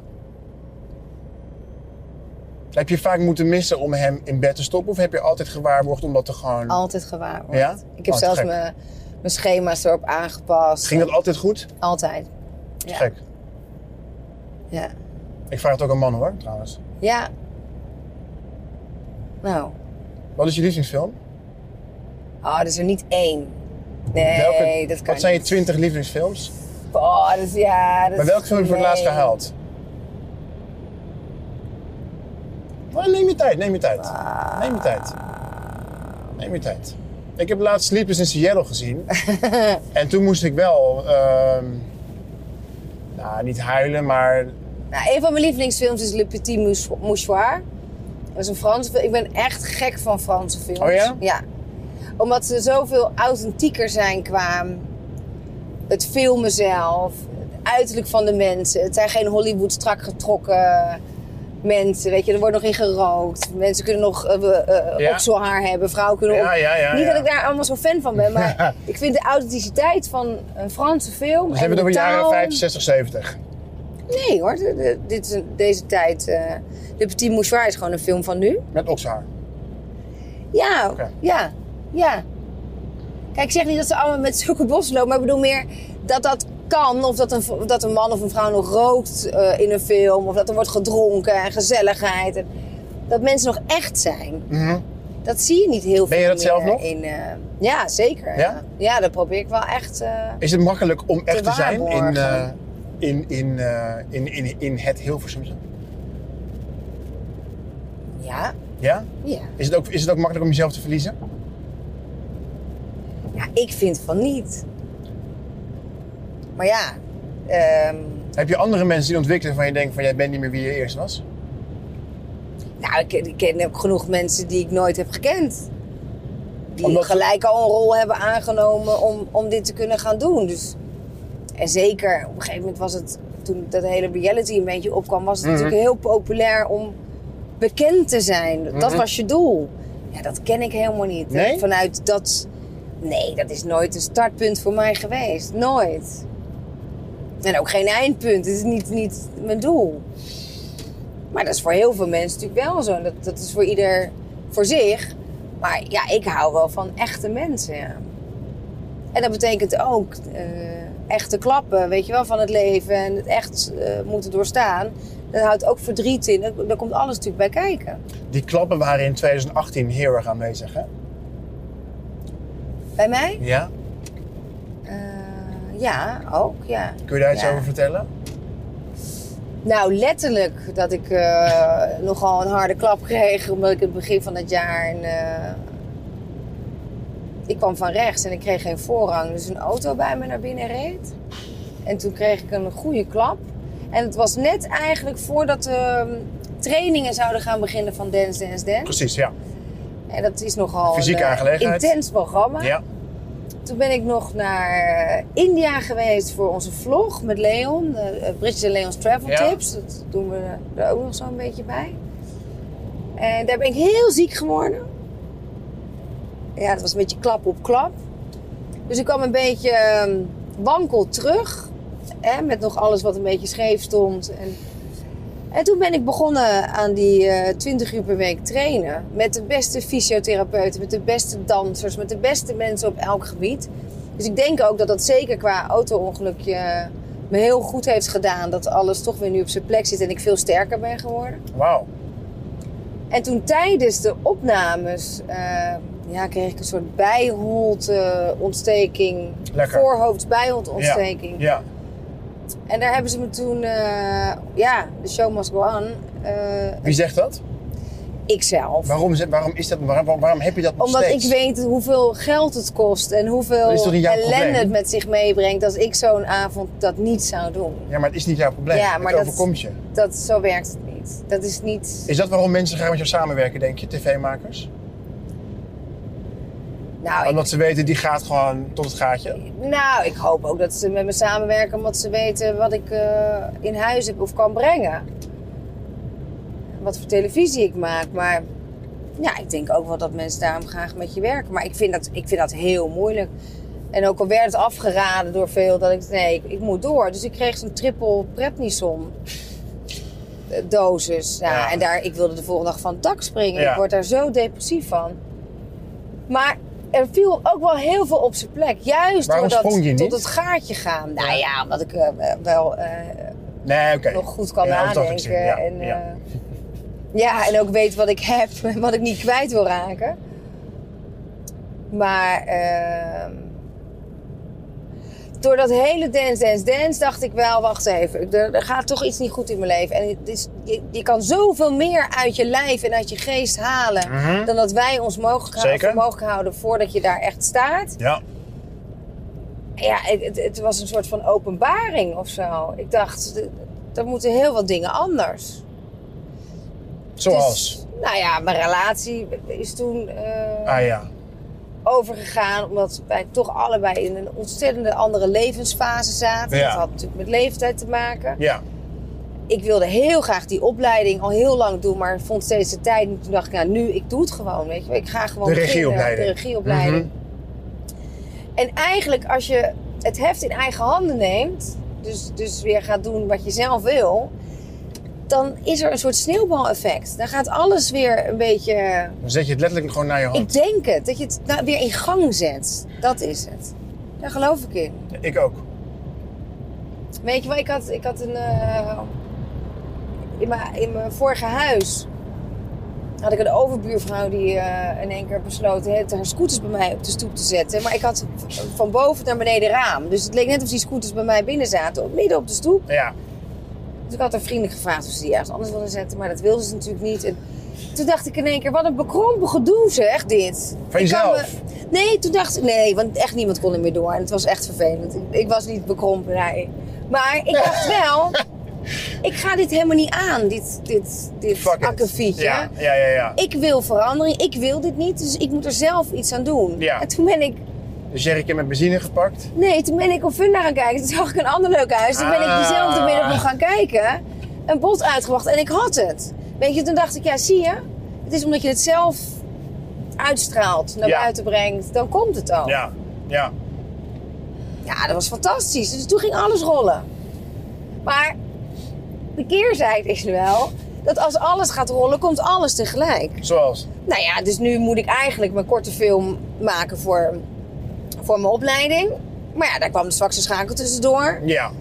Speaker 3: Heb je vaak moeten missen om hem in bed te stoppen? Of heb je altijd gewaarborgd omdat er gewoon...
Speaker 2: Altijd gewaar wordt.
Speaker 3: Hm. Ja?
Speaker 2: Ik heb
Speaker 3: Oh, te
Speaker 2: zelfs
Speaker 3: gek.
Speaker 2: mijn, mijn schema's erop aangepast.
Speaker 3: Ging dat altijd goed?
Speaker 2: Altijd. Ja.
Speaker 3: Gek.
Speaker 2: Ja.
Speaker 3: Ik vraag het ook aan man hoor, trouwens.
Speaker 2: ja. Nou,
Speaker 3: Wat is je lievelingsfilm?
Speaker 2: oh, er is er niet één. Nee,
Speaker 3: Welke-
Speaker 2: dat kan
Speaker 3: Wat zijn je
Speaker 2: niet.
Speaker 3: twintig lievelingsfilms?
Speaker 2: Oh, dat is, ja, dat
Speaker 3: Maar
Speaker 2: is
Speaker 3: welke film heb je voor het laatst
Speaker 2: gemeen.
Speaker 3: gehaald? Maar Oh, neem je tijd, neem je tijd.
Speaker 2: Ah.
Speaker 3: Neem je tijd. Neem je tijd. Ik heb laatst Sleepers in Seattle gezien. en toen moest ik wel... ehm, nou, niet huilen, maar...
Speaker 2: Nou, een van mijn lievelingsfilms is Le Petit Moucho- Mouchoir. Dat is een Franse film. Ik ben echt gek van Franse films.
Speaker 3: Oh ja?
Speaker 2: Omdat ze zoveel authentieker zijn qua mm, het filmen zelf, het uiterlijk van de mensen. Het zijn geen Hollywood strak getrokken mensen. Weet je, er wordt nog in gerookt. Mensen kunnen nog eh, we- eh,
Speaker 3: Ja.
Speaker 2: okselhaar hebben. Vrouwen kunnen
Speaker 3: Ja, ja, ja,
Speaker 2: Niet
Speaker 3: ja.
Speaker 2: dat ik daar allemaal zo fan van ben, maar ik vind de authenticiteit van een Franse film.
Speaker 3: Dus we hebben
Speaker 2: en
Speaker 3: het over
Speaker 2: de
Speaker 3: jaren
Speaker 2: taal-
Speaker 3: 50, 60, 70.
Speaker 2: Nee hoor, de- de- dit is een- deze tijd. eh Le Petit Mouchoir is gewoon een film van nu.
Speaker 3: Met okshaar.
Speaker 2: Ja,
Speaker 3: Oké.
Speaker 2: ja, ja. Kijk, ik zeg niet dat ze allemaal met zulke bossen lopen, maar ik bedoel meer dat dat kan. Of dat een, v- dat een man of een vrouw nog rookt eh, in een film. Of dat er wordt gedronken en gezelligheid. En dat mensen nog echt zijn.
Speaker 3: Mhm.
Speaker 2: Dat zie je niet heel veel
Speaker 3: Ben je dat
Speaker 2: meer
Speaker 3: zelf nog?
Speaker 2: In, eh, ja, zeker.
Speaker 3: Ja?
Speaker 2: ja, dat probeer ik wel echt... eh,
Speaker 3: Is het makkelijk om echt te, zijn in, eh,
Speaker 2: waarborgen.
Speaker 3: in, in, eh, in, in, in het Hilversumse?
Speaker 2: ja,
Speaker 3: Ja?
Speaker 2: ja.
Speaker 3: Is het, ook, is het ook makkelijk om jezelf te verliezen?
Speaker 2: Ja, ik vind van niet. Maar ja, ehm,
Speaker 3: Heb je andere mensen die ontwikkelen van je denkt van jij bent niet meer wie je eerst was?
Speaker 2: nou, ik, ik ken ook genoeg mensen die ik nooit heb gekend. Die
Speaker 3: Omdat-
Speaker 2: gelijk al een rol hebben aangenomen om, om dit te kunnen gaan doen. Dus, en zeker, op een gegeven moment was het, toen dat hele reality een beetje opkwam, was het
Speaker 3: Mhm.
Speaker 2: natuurlijk heel populair om bekend te zijn. Dat
Speaker 3: Mhm.
Speaker 2: was je doel. Ja, dat ken ik helemaal niet.
Speaker 3: Nee?
Speaker 2: Vanuit dat. Nee, dat is nooit een startpunt voor mij geweest. Nooit. En ook geen eindpunt. Het is niet, niet mijn doel. Maar dat is voor heel veel mensen natuurlijk wel zo. En Dat, dat is voor ieder voor zich. Maar ja, ik hou wel van echte mensen. ja. En dat betekent ook eh, echte klappen, weet je wel, van het leven. En het echt eh, moeten doorstaan. Dat houdt ook verdriet in. Daar- Daar komt alles natuurlijk bij kijken.
Speaker 3: Die klappen waren in 2018 heel erg aanwezig, hè?
Speaker 2: Bij mij?
Speaker 3: Ja?
Speaker 2: Eh, ja, ook, ja.
Speaker 3: Kun je daar iets
Speaker 2: Ja.
Speaker 3: over vertellen?
Speaker 2: Nou, letterlijk dat ik eh, nogal een harde klap kreeg. Omdat ik het begin van het jaar. Een, eh, ik kwam van rechts en ik kreeg geen voorrang. Dus een auto bij me naar binnen reed. En toen kreeg ik een goede klap. En het was net eigenlijk voordat de trainingen zouden gaan beginnen van Dance Dance Dance.
Speaker 3: Precies, ja.
Speaker 2: En dat is nogal
Speaker 3: Fysieke
Speaker 2: een eh,
Speaker 3: aangelegenheid.
Speaker 2: intens programma.
Speaker 3: Ja.
Speaker 2: Toen ben ik nog naar India geweest voor onze vlog met Leon. De eh, Bridget en Leon's Travel
Speaker 3: Ja.
Speaker 2: Tips. Dat doen we er ook nog zo'n beetje bij. En daar ben ik heel ziek geworden. Ja, het was een beetje klap op klap. Dus ik kwam een beetje ehm, wankel terug. Hè, met nog alles wat een beetje scheef stond. En, en toen ben ik begonnen aan die eh 20 uur per week trainen. Met de beste fysiotherapeuten, met de beste dansers, met de beste mensen op elk gebied. Dus ik denk ook dat dat zeker qua auto-ongelukje me heel goed heeft gedaan. Dat alles toch weer nu op zijn plek zit en ik veel sterker ben geworden.
Speaker 3: Wauw.
Speaker 2: En toen tijdens de opnames eh, ja, kreeg ik een soort eh, bijholteontsteking.
Speaker 3: Lekker.
Speaker 2: Voorhoofd-bijholteontsteking.
Speaker 3: Ja.
Speaker 2: En daar hebben ze me toen, eh, ja, de show must go on. eh,
Speaker 3: Wie zegt dat?
Speaker 2: ikzelf.
Speaker 3: Waarom, is- waarom is dat? Waarom, waarom heb je dat nog
Speaker 2: Omdat
Speaker 3: steeds?
Speaker 2: ik weet hoeveel geld het kost en hoeveel
Speaker 3: Dat is toch niet jouw
Speaker 2: ellende
Speaker 3: probleem?
Speaker 2: het met zich meebrengt als ik zo'n avond dat niet zou doen.
Speaker 3: Ja, maar het is niet jouw probleem.
Speaker 2: Ja, maar
Speaker 3: het
Speaker 2: dat-
Speaker 3: overkomt je.
Speaker 2: Dat, zo werkt het niet. Dat is niet.
Speaker 3: Is dat waarom mensen graag met jou samenwerken, denk je, tv-makers?
Speaker 2: Nou, Oh, ik,
Speaker 3: Omdat ze weten, die gaat gewoon tot het gaatje.
Speaker 2: nou, ik hoop ook dat ze met me samenwerken omdat ze weten wat ik eh, in huis heb of kan brengen. Wat voor televisie ik maak. Maar ja, ik denk ook wel dat mensen daarom graag met je werken. Maar ik vind dat, ik vind dat heel moeilijk. En ook al werd het afgeraden door veel dat ik nee, ik, ik moet door. Dus ik kreeg zo'n triple prednison eh, dosis. Ja,
Speaker 3: Ja.
Speaker 2: En daar, ik wilde de volgende dag van het dak springen.
Speaker 3: Ja.
Speaker 2: Ik word daar zo depressief van. Maar er viel ook wel heel veel op zijn plek. Juist
Speaker 3: Waarom
Speaker 2: door dat
Speaker 3: sprong je
Speaker 2: tot
Speaker 3: niet?
Speaker 2: het gaatje gaan. Nou
Speaker 3: Ja.
Speaker 2: ja, omdat ik eh, wel eh,
Speaker 3: Nee, oké.
Speaker 2: nog goed kan
Speaker 3: Ja, dat had ik
Speaker 2: nadenken.
Speaker 3: gezien, ja,
Speaker 2: en, eh,
Speaker 3: ja.
Speaker 2: ja. en ook weet wat ik heb en wat ik niet kwijt wil raken. Maar ehm, door dat hele dance, dance, dance dacht ik wel, wacht even, ik- er, er gaat toch iets niet goed in mijn leven. En het is, je, je kan zoveel meer uit je lijf en uit je geest halen
Speaker 3: Mhm.
Speaker 2: dan dat wij ons mogelijk, hou-
Speaker 3: Zeker.
Speaker 2: voor mogelijk houden voordat je daar echt staat.
Speaker 3: Ja.
Speaker 2: Ja, het, het- het was een soort van openbaring of zo. Ik dacht, d- d- er moeten heel wat dingen anders.
Speaker 3: Zoals.
Speaker 2: Dus, nou ja, mijn relatie is toen eh,
Speaker 3: Ah ja.
Speaker 2: overgegaan. Omdat wij toch allebei in een ontzettende andere levensfase zaten.
Speaker 3: Ja.
Speaker 2: Dat had natuurlijk met leeftijd te maken.
Speaker 3: Ja.
Speaker 2: Ik wilde heel graag die opleiding al heel lang doen. Maar vond steeds de tijd. niet. toen dacht ik, nou nu, ik doe het gewoon. Weet je. wel. Ik ga gewoon
Speaker 3: De
Speaker 2: beginnen.
Speaker 3: regieopleiding. Mhm.
Speaker 2: De regieopleiding. En eigenlijk als je het heft in eigen handen neemt, dus, dus weer gaat doen wat je zelf wil, dan is er een soort sneeuwbaleffect. Dan gaat alles weer een beetje,
Speaker 3: Dan zet je het letterlijk gewoon naar je hand.
Speaker 2: ik denk het, dat je het nou weer in gang zet. Dat is het. Daar geloof ik in.
Speaker 3: Ik, ook.
Speaker 2: Weet je wel, ik had, ik had een. eh, in, mijn, in mijn vorige huis had ik een overbuurvrouw die eh, in één keer besloot hè, haar scooters bij mij op de stoep te zetten. Maar ik had v- van boven naar beneden raam. Dus het leek net of die scooters bij mij binnen zaten, op, midden op de stoep.
Speaker 3: Ja.
Speaker 2: Dus ik had haar vriendelijk gevraagd of ze die ergens anders wilde zetten, maar dat wilde ze natuurlijk niet. En toen dacht ik in één keer, wat een bekrompen gedoe zeg, dit.
Speaker 3: Van
Speaker 2: Ik kan
Speaker 3: jezelf?
Speaker 2: me- Nee, toen dacht ik, nee, want echt niemand kon er meer door. En het was echt vervelend. Ik, ik was niet bekrompen daarin. Maar ik dacht wel, ik ga dit helemaal niet aan, dit, dit, dit
Speaker 3: Fuck it.
Speaker 2: akkefietje.
Speaker 3: Ja, ja, ja, ja.
Speaker 2: Ik wil verandering, ik wil dit niet, dus ik moet er zelf iets aan doen.
Speaker 3: Ja.
Speaker 2: En toen ben ik,
Speaker 3: Dus Jerrycan met benzine gepakt.
Speaker 2: nee, toen ben ik op Funda gaan kijken. Toen zag ik een ander leuk huis. Toen ben ik
Speaker 3: Ah.
Speaker 2: diezelfde middag nog gaan kijken. Een bod uitgebracht en ik had het. Weet je, toen dacht ik, ja, zie je, het is omdat je het zelf uitstraalt, naar
Speaker 3: Ja.
Speaker 2: buiten brengt, dan komt het al.
Speaker 3: Ja, ja.
Speaker 2: Ja, dat was fantastisch. Dus toen ging alles rollen. Maar de keerzijde is wel dat als alles gaat rollen, komt alles tegelijk.
Speaker 3: Zoals.
Speaker 2: Nou ja, dus nu moet ik eigenlijk mijn korte film maken voor, voor mijn opleiding. Maar ja, daar kwam dus straks een schakel tussendoor.
Speaker 3: Ja.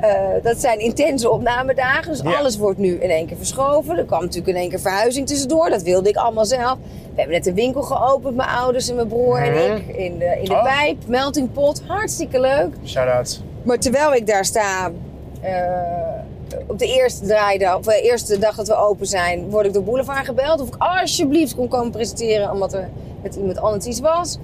Speaker 2: Eh, dat zijn intense opnamedagen. Dus
Speaker 3: Ja.
Speaker 2: alles wordt nu in één keer verschoven. Er kwam natuurlijk in één keer verhuizing tussendoor. Dat wilde ik allemaal zelf. We hebben net een winkel geopend, mijn ouders en mijn broer en ik. In de, in de
Speaker 3: Oh.
Speaker 2: pijp, melting pot. Hartstikke leuk.
Speaker 3: Shout-out.
Speaker 2: Maar terwijl ik daar sta, eh, op de eerste draaidag, of de eerste dag dat we open zijn, word ik door Boulevard gebeld. Of ik alsjeblieft kon komen presenteren, omdat er met iemand anders iets was.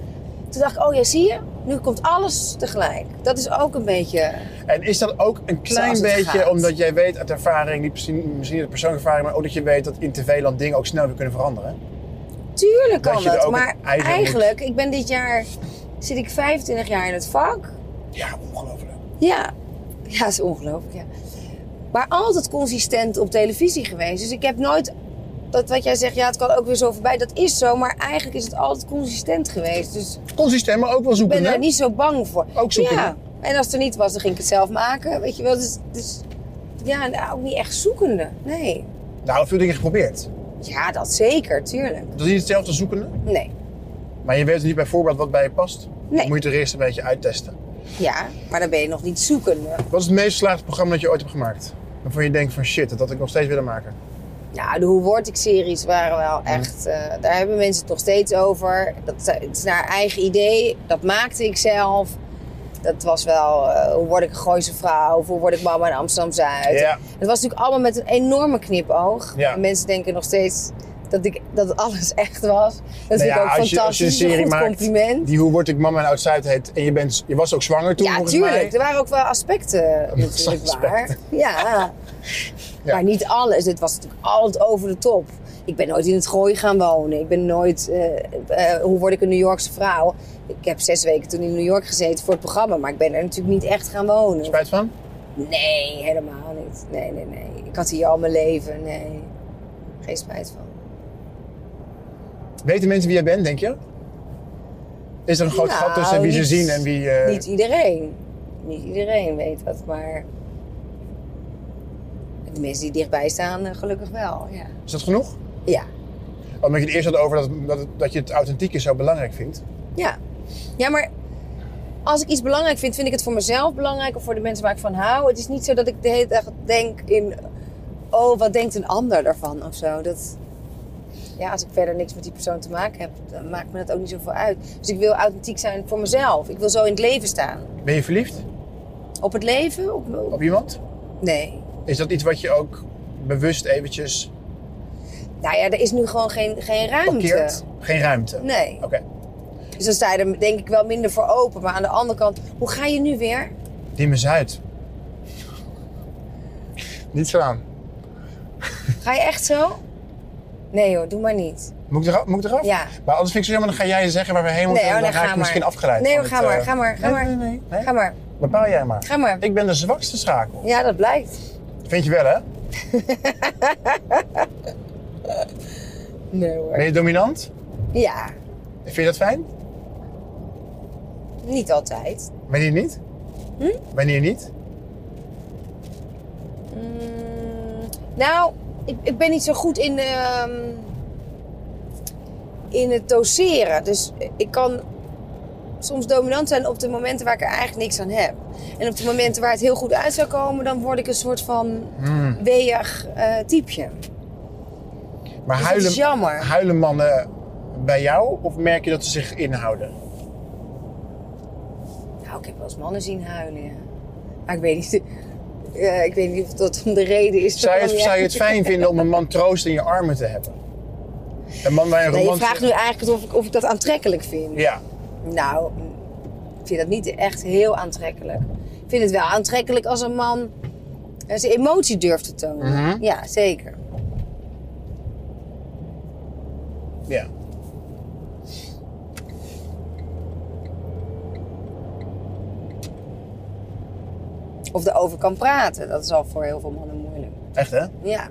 Speaker 2: Toen dacht ik, oh ja, zie je, nu komt alles tegelijk. Dat is ook een beetje.
Speaker 3: En is dat ook een klein
Speaker 2: Zoals het
Speaker 3: beetje,
Speaker 2: gaat.
Speaker 3: omdat jij weet uit ervaring, niet misschien, misschien uit persoonlijke ervaring, maar ook dat je weet dat in tv-land dingen ook snel weer kunnen veranderen?
Speaker 2: Tuurlijk kan
Speaker 3: Dat je
Speaker 2: dat,
Speaker 3: er ook
Speaker 2: maar
Speaker 3: een eigen moet-
Speaker 2: eigenlijk, ik ben dit jaar, zit ik 25 jaar in het vak.
Speaker 3: Ja, ongelooflijk.
Speaker 2: Ja, ja dat is ongelooflijk. Ja. Maar altijd consistent op televisie geweest. Dus ik heb nooit. Dat wat jij zegt, ja, het kan ook weer zo voorbij. Dat is zo, maar eigenlijk is het altijd consistent geweest. Dus
Speaker 3: Consistent, maar ook wel
Speaker 2: ik
Speaker 3: zoeken.
Speaker 2: ben daar niet zo bang voor.
Speaker 3: Ook zoeken,
Speaker 2: Ja. En als het er niet was, dan ging ik het zelf maken. Weet je wel, dus. dus ja, nou, ook niet echt zoekende. Nee.
Speaker 3: Nou, veel dingen geprobeerd.
Speaker 2: Ja, dat zeker, tuurlijk.
Speaker 3: Dat is niet hetzelfde als zoekende,
Speaker 2: Nee.
Speaker 3: maar je weet niet bijvoorbeeld wat bij je past.
Speaker 2: Nee.
Speaker 3: Moet je het er eerst een beetje uittesten.
Speaker 2: Ja, maar dan ben je nog niet zoekende.
Speaker 3: Wat is het meest geslaagde programma dat je ooit hebt gemaakt? Waarvan je denkt van shit, dat had ik nog steeds willen maken.
Speaker 2: Ja, Nou, de Hoe Word Ik-series waren wel echt... eh, daar hebben mensen het nog steeds over. Dat, het is naar eigen idee. Dat maakte ik zelf. Dat was wel... eh, hoe word ik een Gooise vrouw? Of hoe word ik mama in Amsterdam-Zuid?
Speaker 3: Ja.
Speaker 2: Het was natuurlijk allemaal met een enorme knipoog.
Speaker 3: Ja.
Speaker 2: En mensen denken nog steeds dat, ik, dat alles echt was. Dat
Speaker 3: Nou
Speaker 2: vind ik
Speaker 3: ja,
Speaker 2: ook
Speaker 3: als
Speaker 2: fantastisch.
Speaker 3: je- als je
Speaker 2: Dat
Speaker 3: een
Speaker 2: is
Speaker 3: serie
Speaker 2: een goed
Speaker 3: maakt
Speaker 2: compliment.
Speaker 3: Die Hoe Word ik Mama en Oud-Zuid heet. En je, bent, je was ook zwanger toen
Speaker 2: Ja,
Speaker 3: volgens
Speaker 2: tuurlijk.
Speaker 3: mij.
Speaker 2: Er waren ook wel aspecten natuurlijk waar. Ja.
Speaker 3: Ja.
Speaker 2: Maar niet alles. Het was natuurlijk altijd over de top. Ik ben nooit in het gooi gaan wonen. Ik ben nooit... eh, eh, hoe word ik een New Yorkse vrouw? Ik heb zes weken toen in New York gezeten voor het programma. Maar ik ben er natuurlijk niet echt gaan wonen.
Speaker 3: Spijt van?
Speaker 2: Nee, helemaal niet. Nee, nee, nee. Ik had hier al mijn leven. Nee. Geen spijt van.
Speaker 3: Weten mensen wie jij bent, denk je? Is er een groot
Speaker 2: Nou,
Speaker 3: gat tussen wie ze
Speaker 2: niet-
Speaker 3: zien en wie... eh,
Speaker 2: Niet iedereen. Niet iedereen weet dat, maar. De mensen die dichtbij staan, eh, gelukkig wel. Ja.
Speaker 3: Is dat genoeg?
Speaker 2: Ja.
Speaker 3: Omdat je het eerst had over dat, dat, het- dat je het authentieke zo belangrijk vindt.
Speaker 2: ja. Ja, maar. Als ik iets belangrijk vind, vind ik het voor mezelf belangrijk of voor de mensen waar ik van hou. Het is niet zo dat ik de hele dag denk in. Oh, wat denkt een ander daarvan of zo. Dat, ja, als ik verder niks met die persoon te maken heb, dan maakt me dat ook niet zoveel uit. Dus ik wil authentiek zijn voor mezelf. Ik wil zo in het leven staan.
Speaker 3: Ben je verliefd
Speaker 2: Op het leven? Op, op,
Speaker 3: op iemand?
Speaker 2: nee.
Speaker 3: Is dat iets wat je ook bewust eventjes
Speaker 2: Nou ja, er is nu gewoon geen, geen ruimte.
Speaker 3: parkeert? Geen ruimte?
Speaker 2: Nee.
Speaker 3: Oké.
Speaker 2: Dus dan sta je er denk ik wel minder voor open. Maar aan de andere kant, hoe ga je nu weer?
Speaker 3: Dimmen Zuid. Niet slaan.
Speaker 2: Ga je echt zo? Nee hoor, doe maar niet.
Speaker 3: Moet ik eraf? Moet ik eraf?
Speaker 2: Ja.
Speaker 3: Maar anders vind ik zo jammer, dan ga jij zeggen waar we heen moeten.
Speaker 2: Nee,
Speaker 3: en
Speaker 2: oh,
Speaker 3: Oh, dan
Speaker 2: nee, ga
Speaker 3: raak ik
Speaker 2: maar.
Speaker 3: misschien afgeleid.
Speaker 2: Nee,
Speaker 3: van
Speaker 2: hoor,
Speaker 3: het,
Speaker 2: ga maar,
Speaker 3: eh,
Speaker 2: ga maar, ga maar.
Speaker 3: nee, Nee, nee, nee.
Speaker 2: Ga maar.
Speaker 3: Bepaal jij maar.
Speaker 2: Ga maar.
Speaker 3: Ik ben de zwakste schakel.
Speaker 2: Ja, dat blijkt.
Speaker 3: Vind je wel, hè?
Speaker 2: Nee hoor.
Speaker 3: Ben je dominant?
Speaker 2: Ja,
Speaker 3: Vind je dat fijn?
Speaker 2: niet altijd.
Speaker 3: Wanneer niet?
Speaker 2: Hm?
Speaker 3: Wanneer niet?
Speaker 2: Mm, nou, ik, ik ben niet zo goed in, ehm, in het doseren. Dus ik kan soms dominant zijn op de momenten waar ik er eigenlijk niks aan heb. En op de momenten waar het heel goed uit
Speaker 3: Hmm.
Speaker 2: zou komen, dan word ik een soort van weeg eh typeje. Dus
Speaker 3: Maar
Speaker 2: dat
Speaker 3: huilen,
Speaker 2: is jammer.
Speaker 3: huilen mannen bij jou of merk je dat ze zich inhouden?
Speaker 2: Nou, ik heb wel eens mannen zien huilen, ja. Maar ik weet niet, eh, ik weet niet of dat de reden is.
Speaker 3: Zou je, het,
Speaker 2: waarom
Speaker 3: zou je
Speaker 2: jij-
Speaker 3: het fijn vinden om een man troost in je armen te hebben? Een man bij een
Speaker 2: Nee, je
Speaker 3: romantische-
Speaker 2: vraagt nu eigenlijk of ik, of ik dat aantrekkelijk vind.
Speaker 3: Ja,
Speaker 2: Nou, ik vind dat niet echt heel aantrekkelijk. Ik vind het wel aantrekkelijk als een man eh, zijn emotie durft te tonen.
Speaker 3: Mhm.
Speaker 2: Ja, zeker.
Speaker 3: ja.
Speaker 2: Of erover kan praten. Dat is al voor heel veel mannen moeilijk.
Speaker 3: Echt hè?
Speaker 2: Ja.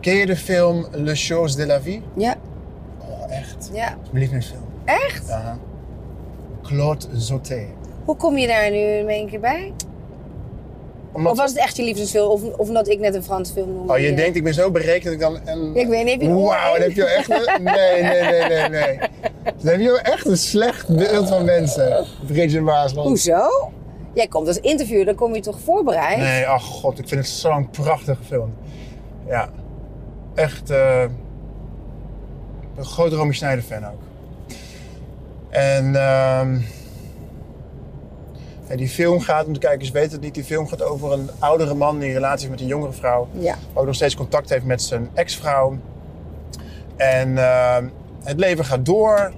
Speaker 3: Ken je de film Le Chose de la Vie?
Speaker 2: Ja.
Speaker 3: Oh, echt.
Speaker 2: Ja.
Speaker 3: Mijn lievelingsfilm.
Speaker 2: Echt?
Speaker 3: Aha. Eh, Claude Zoté.
Speaker 2: Hoe kom je daar nu in één keer bij?
Speaker 3: Omdat-
Speaker 2: Of was het echt je liefdesfilm? Of, of omdat ik net een Franse film noemde?
Speaker 3: Oh, je
Speaker 2: die-
Speaker 3: denkt ik ben zo berekend dat ik dan een...
Speaker 2: Ik weet niet, heb je een oor
Speaker 3: Wauw,
Speaker 2: in?
Speaker 3: dan heb je wel echt een... Nee, nee, nee, nee, nee. Dan heb je wel echt een slecht beeld van mensen. Bridget Maasland.
Speaker 2: Hoezo? Jij komt als interviewer, dan kom je toch voorbereid?
Speaker 3: Nee, ach god, ik vind het zo'n prachtige film. Ja, echt eh, een groot Romy Schneider fan ook. En ehm, ja, die film gaat, om de kijkers weten het niet, die film gaat over een oudere man die in relatie is met een jongere vrouw.
Speaker 2: Ja.
Speaker 3: Ook nog steeds contact heeft met zijn ex-vrouw. En ehm, het leven gaat door.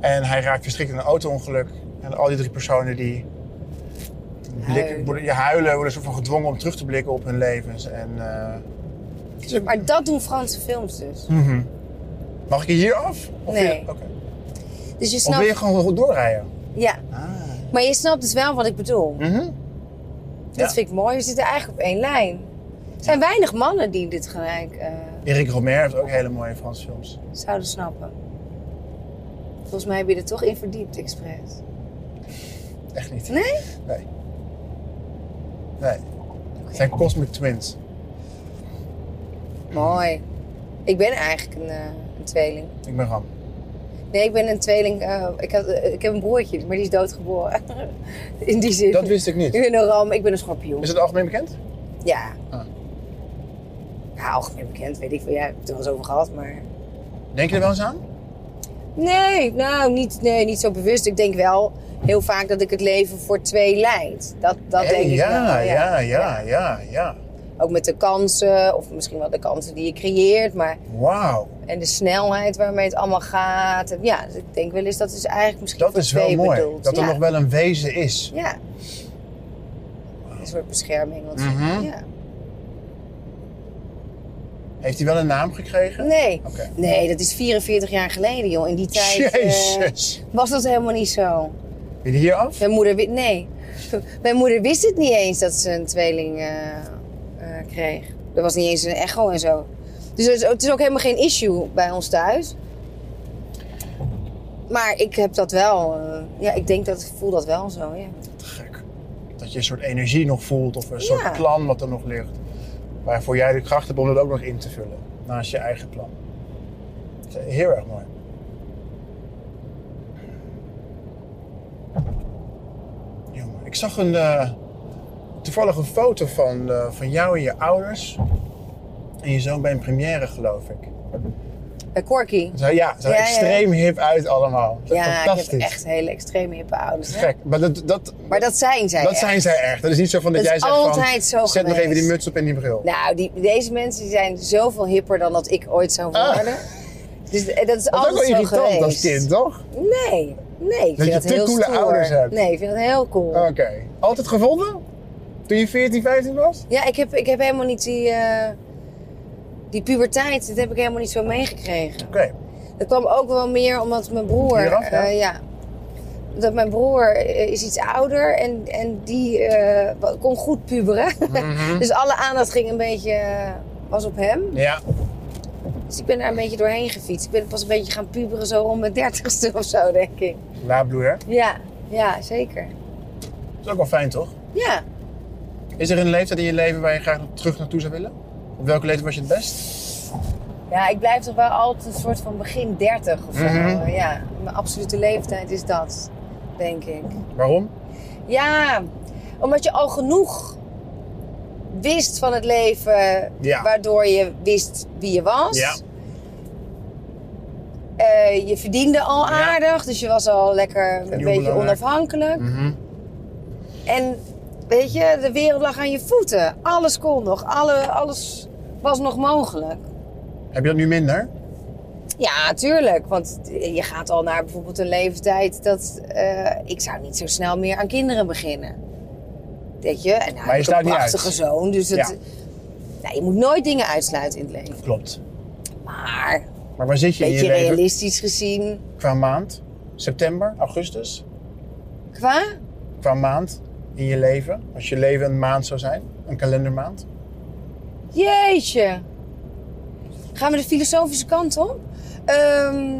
Speaker 3: En hij raakt verstrikt in een auto-ongeluk. En al die drie personen die
Speaker 2: Huilen.
Speaker 3: blikken, worden, ja, huilen, worden soort van gedwongen om terug te blikken op hun levens. En, eh, het is ook-
Speaker 2: Maar dat doen Franse films dus.
Speaker 3: Mhm. Mag ik je hier af? Of
Speaker 2: Nee.
Speaker 3: je- oké.
Speaker 2: Dus je
Speaker 3: Of Ah.
Speaker 2: snapt...
Speaker 3: wil je gewoon goed doorrijden?
Speaker 2: Ja. Maar je snapt dus wel wat ik bedoel.
Speaker 3: Mhm.
Speaker 2: Dat
Speaker 3: Ja.
Speaker 2: vind ik mooi. We zitten eigenlijk op één lijn. Er zijn weinig mannen die dit gelijk eh,
Speaker 3: Erik Romer heeft ook hele mooie Franse films.
Speaker 2: zouden snappen. Volgens mij heb je er toch in verdiept, expres.
Speaker 3: Echt niet.
Speaker 2: Nee?
Speaker 3: Nee. Nee. Het zijn Cosmic Twins.
Speaker 2: Mooi. Ik ben eigenlijk een, eh, een tweeling.
Speaker 3: Ik ben Ram.
Speaker 2: Nee, ik ben een tweeling. eh, ik, had, eh, ik heb een broertje, maar die is doodgeboren. in die zin.
Speaker 3: Dat wist ik niet.
Speaker 2: Ik ben een ram, ik ben een schorpioen.
Speaker 3: Is het algemeen bekend?
Speaker 2: Ja.
Speaker 3: Ah.
Speaker 2: Ja, algemeen bekend, weet ik veel. Ja, ik heb het er wel eens over gehad, maar...
Speaker 3: Denk je er wel eens aan?
Speaker 2: Nee, nou, niet, nee, niet zo bewust. Ik denk wel heel vaak dat ik het leven voor twee leid. Dat, dat
Speaker 3: Hey,
Speaker 2: denk ik
Speaker 3: ja,
Speaker 2: wel.
Speaker 3: ja, ja, ja, ja.
Speaker 2: Ook met de kansen, of misschien wel de kansen die je creëert. Maar,
Speaker 3: Wauw.
Speaker 2: en de snelheid waarmee het allemaal gaat. En ja, dus ik denk wel eens dat is eigenlijk misschien
Speaker 3: Dat
Speaker 2: voor
Speaker 3: is wel
Speaker 2: twee
Speaker 3: mooi.
Speaker 2: bedoeld.
Speaker 3: Dat er
Speaker 2: ja.
Speaker 3: nog wel een wezen is.
Speaker 2: Ja. Een soort bescherming. Want,
Speaker 3: Mhm.
Speaker 2: ja.
Speaker 3: Heeft hij wel een naam gekregen?
Speaker 2: Nee.
Speaker 3: Oké.
Speaker 2: nee, dat is 44 jaar geleden, joh. In die tijd eh,
Speaker 3: Jezus.
Speaker 2: was dat helemaal niet zo.
Speaker 3: Wil je hier af?
Speaker 2: Mijn moeder, wi- nee. Mijn moeder wist het niet eens dat ze een tweeling eh, eh, kreeg. Er was niet eens een echo en zo. Dus het is, ook- het is ook helemaal geen issue bij ons thuis. Maar ik heb dat wel. eh, ja, ik denk dat ik voel dat wel zo. Ja.
Speaker 3: Te gek. Dat je een soort energie nog voelt of een soort
Speaker 2: Ja.
Speaker 3: plan wat er nog ligt. Waarvoor jij de kracht hebt om dat ook nog in te vullen. Naast je eigen plan. Dat is Heel erg mooi. Jongen, ik zag een, eh, toevallig een foto van, eh, van jou en je ouders. En je zoon bij een première, geloof ik.
Speaker 2: Bij Corky.
Speaker 3: Zo, ja, zo
Speaker 2: Ja, ja.
Speaker 3: extreem hip uit allemaal. Dat is
Speaker 2: Ja, ik
Speaker 3: fantastisch.
Speaker 2: heb echt hele extreme hippe ouders. hè.
Speaker 3: Gek. Maar dat, dat,
Speaker 2: Maar dat zijn zij.
Speaker 3: dat
Speaker 2: echt.
Speaker 3: zijn zij echt. Dat is niet zo van dat,
Speaker 2: Dat
Speaker 3: jij
Speaker 2: is
Speaker 3: zegt van,
Speaker 2: altijd zo
Speaker 3: zet nog
Speaker 2: geweest.
Speaker 3: even die muts op en die bril.
Speaker 2: Nou, die, deze mensen die zijn zoveel hipper dan dat ik ooit zou worden. Dus eh, dat is
Speaker 3: Ah. dat is
Speaker 2: altijd
Speaker 3: ook wel
Speaker 2: zo
Speaker 3: irritant
Speaker 2: geweest.
Speaker 3: als kind, toch?
Speaker 2: Nee, nee. Ik
Speaker 3: Dat
Speaker 2: vind
Speaker 3: je
Speaker 2: dat
Speaker 3: te
Speaker 2: heel
Speaker 3: coole
Speaker 2: stoer.
Speaker 3: ouders hebt. Oh.
Speaker 2: Nee, ik vind dat heel cool.
Speaker 3: Oké. Altijd gevonden? Toen je 14, 15 was?
Speaker 2: Ja, ik heb, ik heb helemaal niet die, eh, die puberteit, dat heb ik helemaal niet zo meegekregen.
Speaker 3: Oké.
Speaker 2: Dat kwam ook wel meer omdat mijn broer...
Speaker 3: Hieraf, ja?
Speaker 2: eh, ja. Dat mijn broer eh, is iets ouder en, en die eh, kon goed puberen.
Speaker 3: Mhm.
Speaker 2: dus alle aandacht ging een beetje, eh, was op hem.
Speaker 3: Ja.
Speaker 2: Dus ik ben daar een beetje doorheen gefietst. Ik ben pas een beetje gaan puberen zo rond mijn dertigste of zo, denk ik.
Speaker 3: La hè?
Speaker 2: Ja, ja, zeker.
Speaker 3: Dat is ook wel fijn, toch?
Speaker 2: Ja.
Speaker 3: Is er een leeftijd in je leven waar je graag nog terug naartoe zou willen? Op welke leeftijd was je het best?
Speaker 2: Ja, ik blijf toch wel altijd een soort van begin 30 of zo.
Speaker 3: Mhm.
Speaker 2: Ja, mijn absolute leeftijd is dat, denk ik.
Speaker 3: Waarom?
Speaker 2: Ja, omdat je al genoeg wist van het leven,
Speaker 3: Ja.
Speaker 2: waardoor je wist wie je was.
Speaker 3: Ja.
Speaker 2: Eh, je verdiende al
Speaker 3: Ja.
Speaker 2: aardig, dus je was al lekker een
Speaker 3: heel
Speaker 2: beetje
Speaker 3: belangrijk.
Speaker 2: onafhankelijk.
Speaker 3: Mhm.
Speaker 2: En weet je, de wereld lag aan je voeten. Alles kon nog, alle, alles was nog mogelijk.
Speaker 3: Heb je dat nu minder?
Speaker 2: Ja, tuurlijk. Want je gaat al naar bijvoorbeeld een leeftijd dat eh, ik zou niet zo snel meer aan kinderen beginnen. Weet je? En nou,
Speaker 3: Maar je
Speaker 2: heb ik
Speaker 3: sluit
Speaker 2: een
Speaker 3: niet
Speaker 2: prachtige
Speaker 3: uit.
Speaker 2: zoon. Dus dat,
Speaker 3: Ja.
Speaker 2: nou, je moet nooit dingen uitsluiten in het leven.
Speaker 3: Klopt.
Speaker 2: Maar een
Speaker 3: Maar waar zit je in je
Speaker 2: beetje
Speaker 3: leven
Speaker 2: realistisch gezien.
Speaker 3: qua maand? September, augustus?
Speaker 2: Qua?
Speaker 3: Qua maand in je leven? Als je leven een maand zou zijn? Een kalendermaand?
Speaker 2: Jeetje. Gaan we de filosofische kant op? Ehm,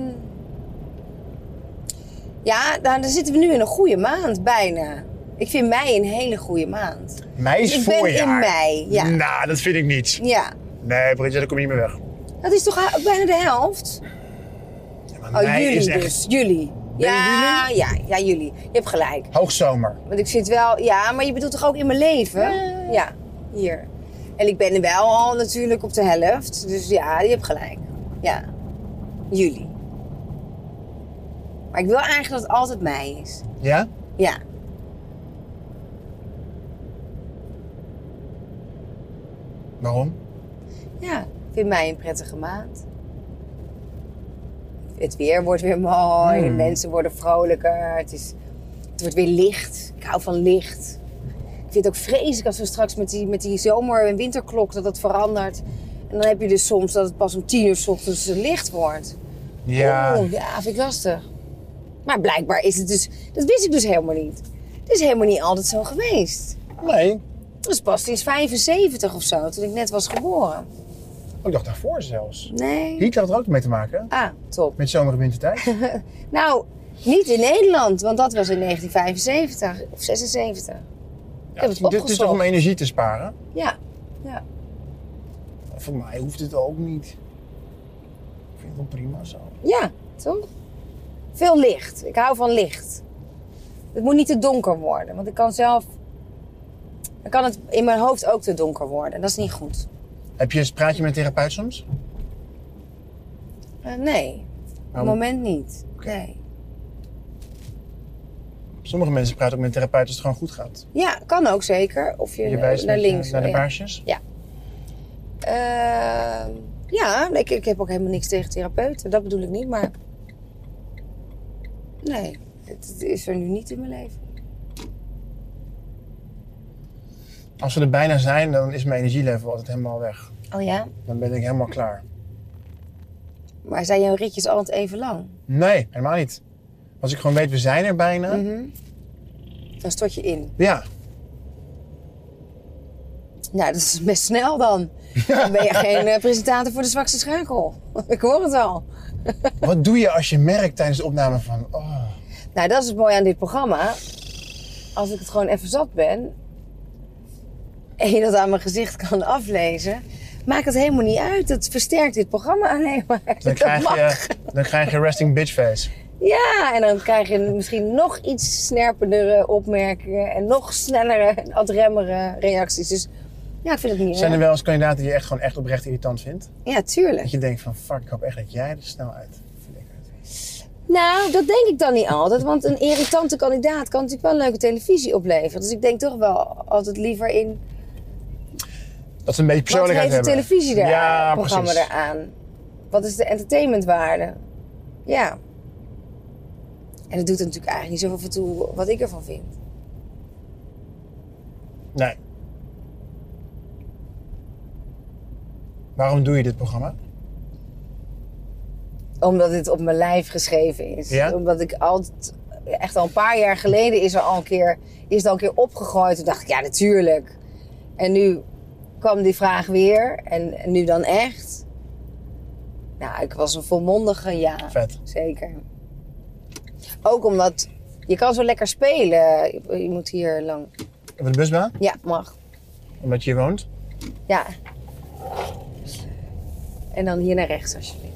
Speaker 2: ja, nou, dan zitten we nu in een goede maand bijna. Ik vind mei een hele goede maand.
Speaker 3: Mei is
Speaker 2: Ik ben in
Speaker 3: voorjaar.
Speaker 2: mei, ja.
Speaker 3: Nou, dat vind ik niet.
Speaker 2: Ja,
Speaker 3: Nee, Bridget, daar kom je niet meer weg.
Speaker 2: dat is toch ha- bijna de helft?
Speaker 3: Ja, maar
Speaker 2: Oh,
Speaker 3: mei
Speaker 2: jullie
Speaker 3: is echt
Speaker 2: dus. Jullie.
Speaker 3: Ben je
Speaker 2: Ja, ja, ja, jullie. Je hebt gelijk.
Speaker 3: hoogzomer.
Speaker 2: Want ik vind wel, ja, maar je bedoelt toch ook in mijn leven? Ja, hier. En ik ben er wel al natuurlijk op de helft. Dus ja, je hebt gelijk. Ja, jullie. Maar ik wil eigenlijk dat het altijd mij is.
Speaker 3: Ja?
Speaker 2: Ja.
Speaker 3: Waarom?
Speaker 2: Ja, ik vind mij een prettige maand. Het weer wordt weer mooi, de mensen worden vrolijker, het, is, het wordt weer licht. Ik hou van licht. Ik vind het ook vreselijk als we straks met die, met die zomer- en winterklok dat dat verandert. En dan heb je dus soms dat het pas om tien uur 's ochtends licht wordt.
Speaker 3: Ja.
Speaker 2: Oeh, ja, vind ik lastig. Maar blijkbaar is het dus, dat wist ik dus helemaal niet. Het is helemaal niet altijd zo geweest.
Speaker 3: Nee,
Speaker 2: Dat is pas sinds 75 of zo, toen ik net was geboren.
Speaker 3: Oh, ik dacht daarvoor zelfs.
Speaker 2: Nee.
Speaker 3: Hier had er ook mee te maken.
Speaker 2: Ah, top.
Speaker 3: Met zomer- en wintertijd.
Speaker 2: Nou, niet in Nederland, want dat was in 1975 of 76. het
Speaker 3: Ja, het, is- het is toch om
Speaker 2: opgezocht.
Speaker 3: energie te sparen?
Speaker 2: Ja, ja.
Speaker 3: Voor mij hoeft het ook niet. Ik vind het wel prima zo.
Speaker 2: Ja, toch? Veel licht. Ik hou van licht. Het moet niet te donker worden, want ik kan zelf... Dan kan het in mijn hoofd ook te donker worden. En dat is niet goed.
Speaker 3: Heb je, praat je met een therapeut soms?
Speaker 2: Eh, nee, op het
Speaker 3: Nou,
Speaker 2: moment niet.
Speaker 3: Oké.
Speaker 2: Nee.
Speaker 3: Sommige mensen praten ook met een therapeut als het gewoon goed gaat.
Speaker 2: Ja, kan ook zeker. Of je,
Speaker 3: Je wijst
Speaker 2: naar
Speaker 3: met je-
Speaker 2: links.
Speaker 3: naar de
Speaker 2: ja.
Speaker 3: baarsjes.
Speaker 2: Ehm, ja, ik, ik heb ook helemaal niks tegen therapeuten. Dat bedoel ik niet, maar... Nee, het, het is er nu niet in mijn leven.
Speaker 3: Als we er bijna zijn, dan is mijn energielevel altijd helemaal weg.
Speaker 2: Oh ja?
Speaker 3: Dan ben ik helemaal klaar.
Speaker 2: Maar zijn jouw ritjes altijd even lang?
Speaker 3: Nee, helemaal niet. Als ik gewoon weet, we zijn er bijna.
Speaker 2: Mhm. Dan stort je in.
Speaker 3: Ja,
Speaker 2: Nou, dat is best snel dan. Dan ben je geen eh, presentator voor de zwakste schakel. Ik hoor het al.
Speaker 3: wat doe je als je merkt tijdens de opname van... Oh,
Speaker 2: Nou, dat is het mooie aan dit programma. Als ik het gewoon even zat ben... en je dat aan mijn gezicht kan aflezen... maakt het helemaal niet uit. Dat versterkt dit programma alleen maar.
Speaker 3: dan,
Speaker 2: dat
Speaker 3: krijg
Speaker 2: mag.
Speaker 3: je, dan krijg je resting bitch face.
Speaker 2: Ja, en dan krijg je misschien nog iets snerpendere opmerkingen... en nog snellere en adremmere reacties. Dus ja, ik vind het niet
Speaker 3: Zijn er
Speaker 2: erg.
Speaker 3: wel eens kandidaten die je echt gewoon echt oprecht irritant vindt?
Speaker 2: Ja, tuurlijk.
Speaker 3: Dat je denkt van, fuck, ik hoop echt dat jij er snel uit flikkert.
Speaker 2: Nou, dat denk ik dan niet altijd. Want een irritante kandidaat kan natuurlijk wel leuke televisie opleveren. Dus ik denk toch wel altijd liever in
Speaker 3: Dat ze een
Speaker 2: wat
Speaker 3: beetje persoonlijkheid
Speaker 2: heeft de
Speaker 3: hebben.
Speaker 2: televisie daar,
Speaker 3: ja,
Speaker 2: het programma
Speaker 3: precies.
Speaker 2: eraan? Wat is de entertainmentwaarde? Ja. En dat doet er natuurlijk eigenlijk niet zoveel voor toe wat ik ervan vind.
Speaker 3: Nee. Waarom doe je dit programma?
Speaker 2: Omdat dit op mijn lijf geschreven is.
Speaker 3: Ja?
Speaker 2: Omdat ik altijd, echt al een paar jaar geleden is er al een keer, is het al een keer opgegooid. Toen dacht ik, ja, natuurlijk. En nu kwam die vraag weer. En, en nu dan echt. Nou, ik was een volmondige ja.
Speaker 3: Vet.
Speaker 2: Zeker. Ook omdat je kan zo lekker spelen. Je, je moet hier lang.
Speaker 3: Op de busbaan?
Speaker 2: Ja, mag.
Speaker 3: Omdat je hier woont?
Speaker 2: Ja. En dan hier naar rechts, alsjeblieft.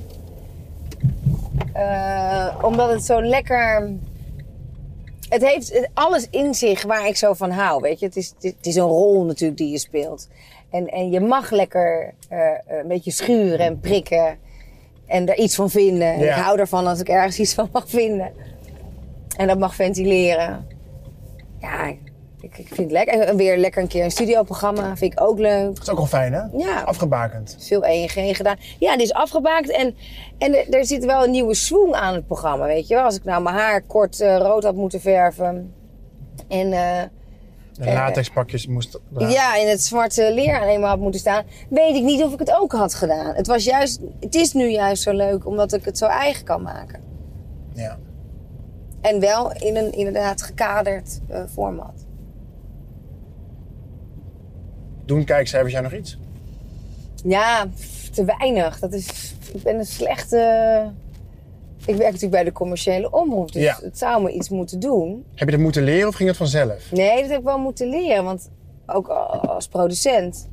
Speaker 2: Eh, omdat het zo lekker Het heeft het- alles in zich waar ik zo van hou, weet je. Het is, het is een rol natuurlijk die je speelt. En, en je mag lekker eh, een beetje schuren en prikken. En er iets van vinden. En
Speaker 3: Ja.
Speaker 2: Ik hou ervan als ik ergens iets van mag vinden. En dat mag ventileren. Ja, ik, ik vind het lekker. En weer lekker een keer een studioprogramma vind ik ook leuk.
Speaker 3: Dat is ook al fijn, hè?
Speaker 2: Ja.
Speaker 3: Afgebakend.
Speaker 2: veel ENG gedaan. Ja, die is afgebaakt en, en er- er zit wel een nieuwe swoon aan het programma, weet je wel. Als ik nou mijn haar kort eh, rood had moeten verven en eh,
Speaker 3: De latexpakjes moesten...
Speaker 2: ja. in het zwarte leer aan eenmaal had moeten staan, weet ik niet of ik het ook had gedaan. Het, was juist, het is nu juist zo leuk omdat ik het zo eigen kan maken.
Speaker 3: ja.
Speaker 2: En wel in een inderdaad gekaderd eh, format.
Speaker 3: Doen kijkcijfers jij nog iets?
Speaker 2: Ja, pff, te weinig. Dat is, ik ben een slechte. Ik werk natuurlijk bij de commerciële omroep, dus
Speaker 3: Ja.
Speaker 2: het zou me iets moeten doen.
Speaker 3: Heb je dat moeten leren of ging het vanzelf?
Speaker 2: Nee, dat heb ik wel moeten leren. Want ook a- als producent.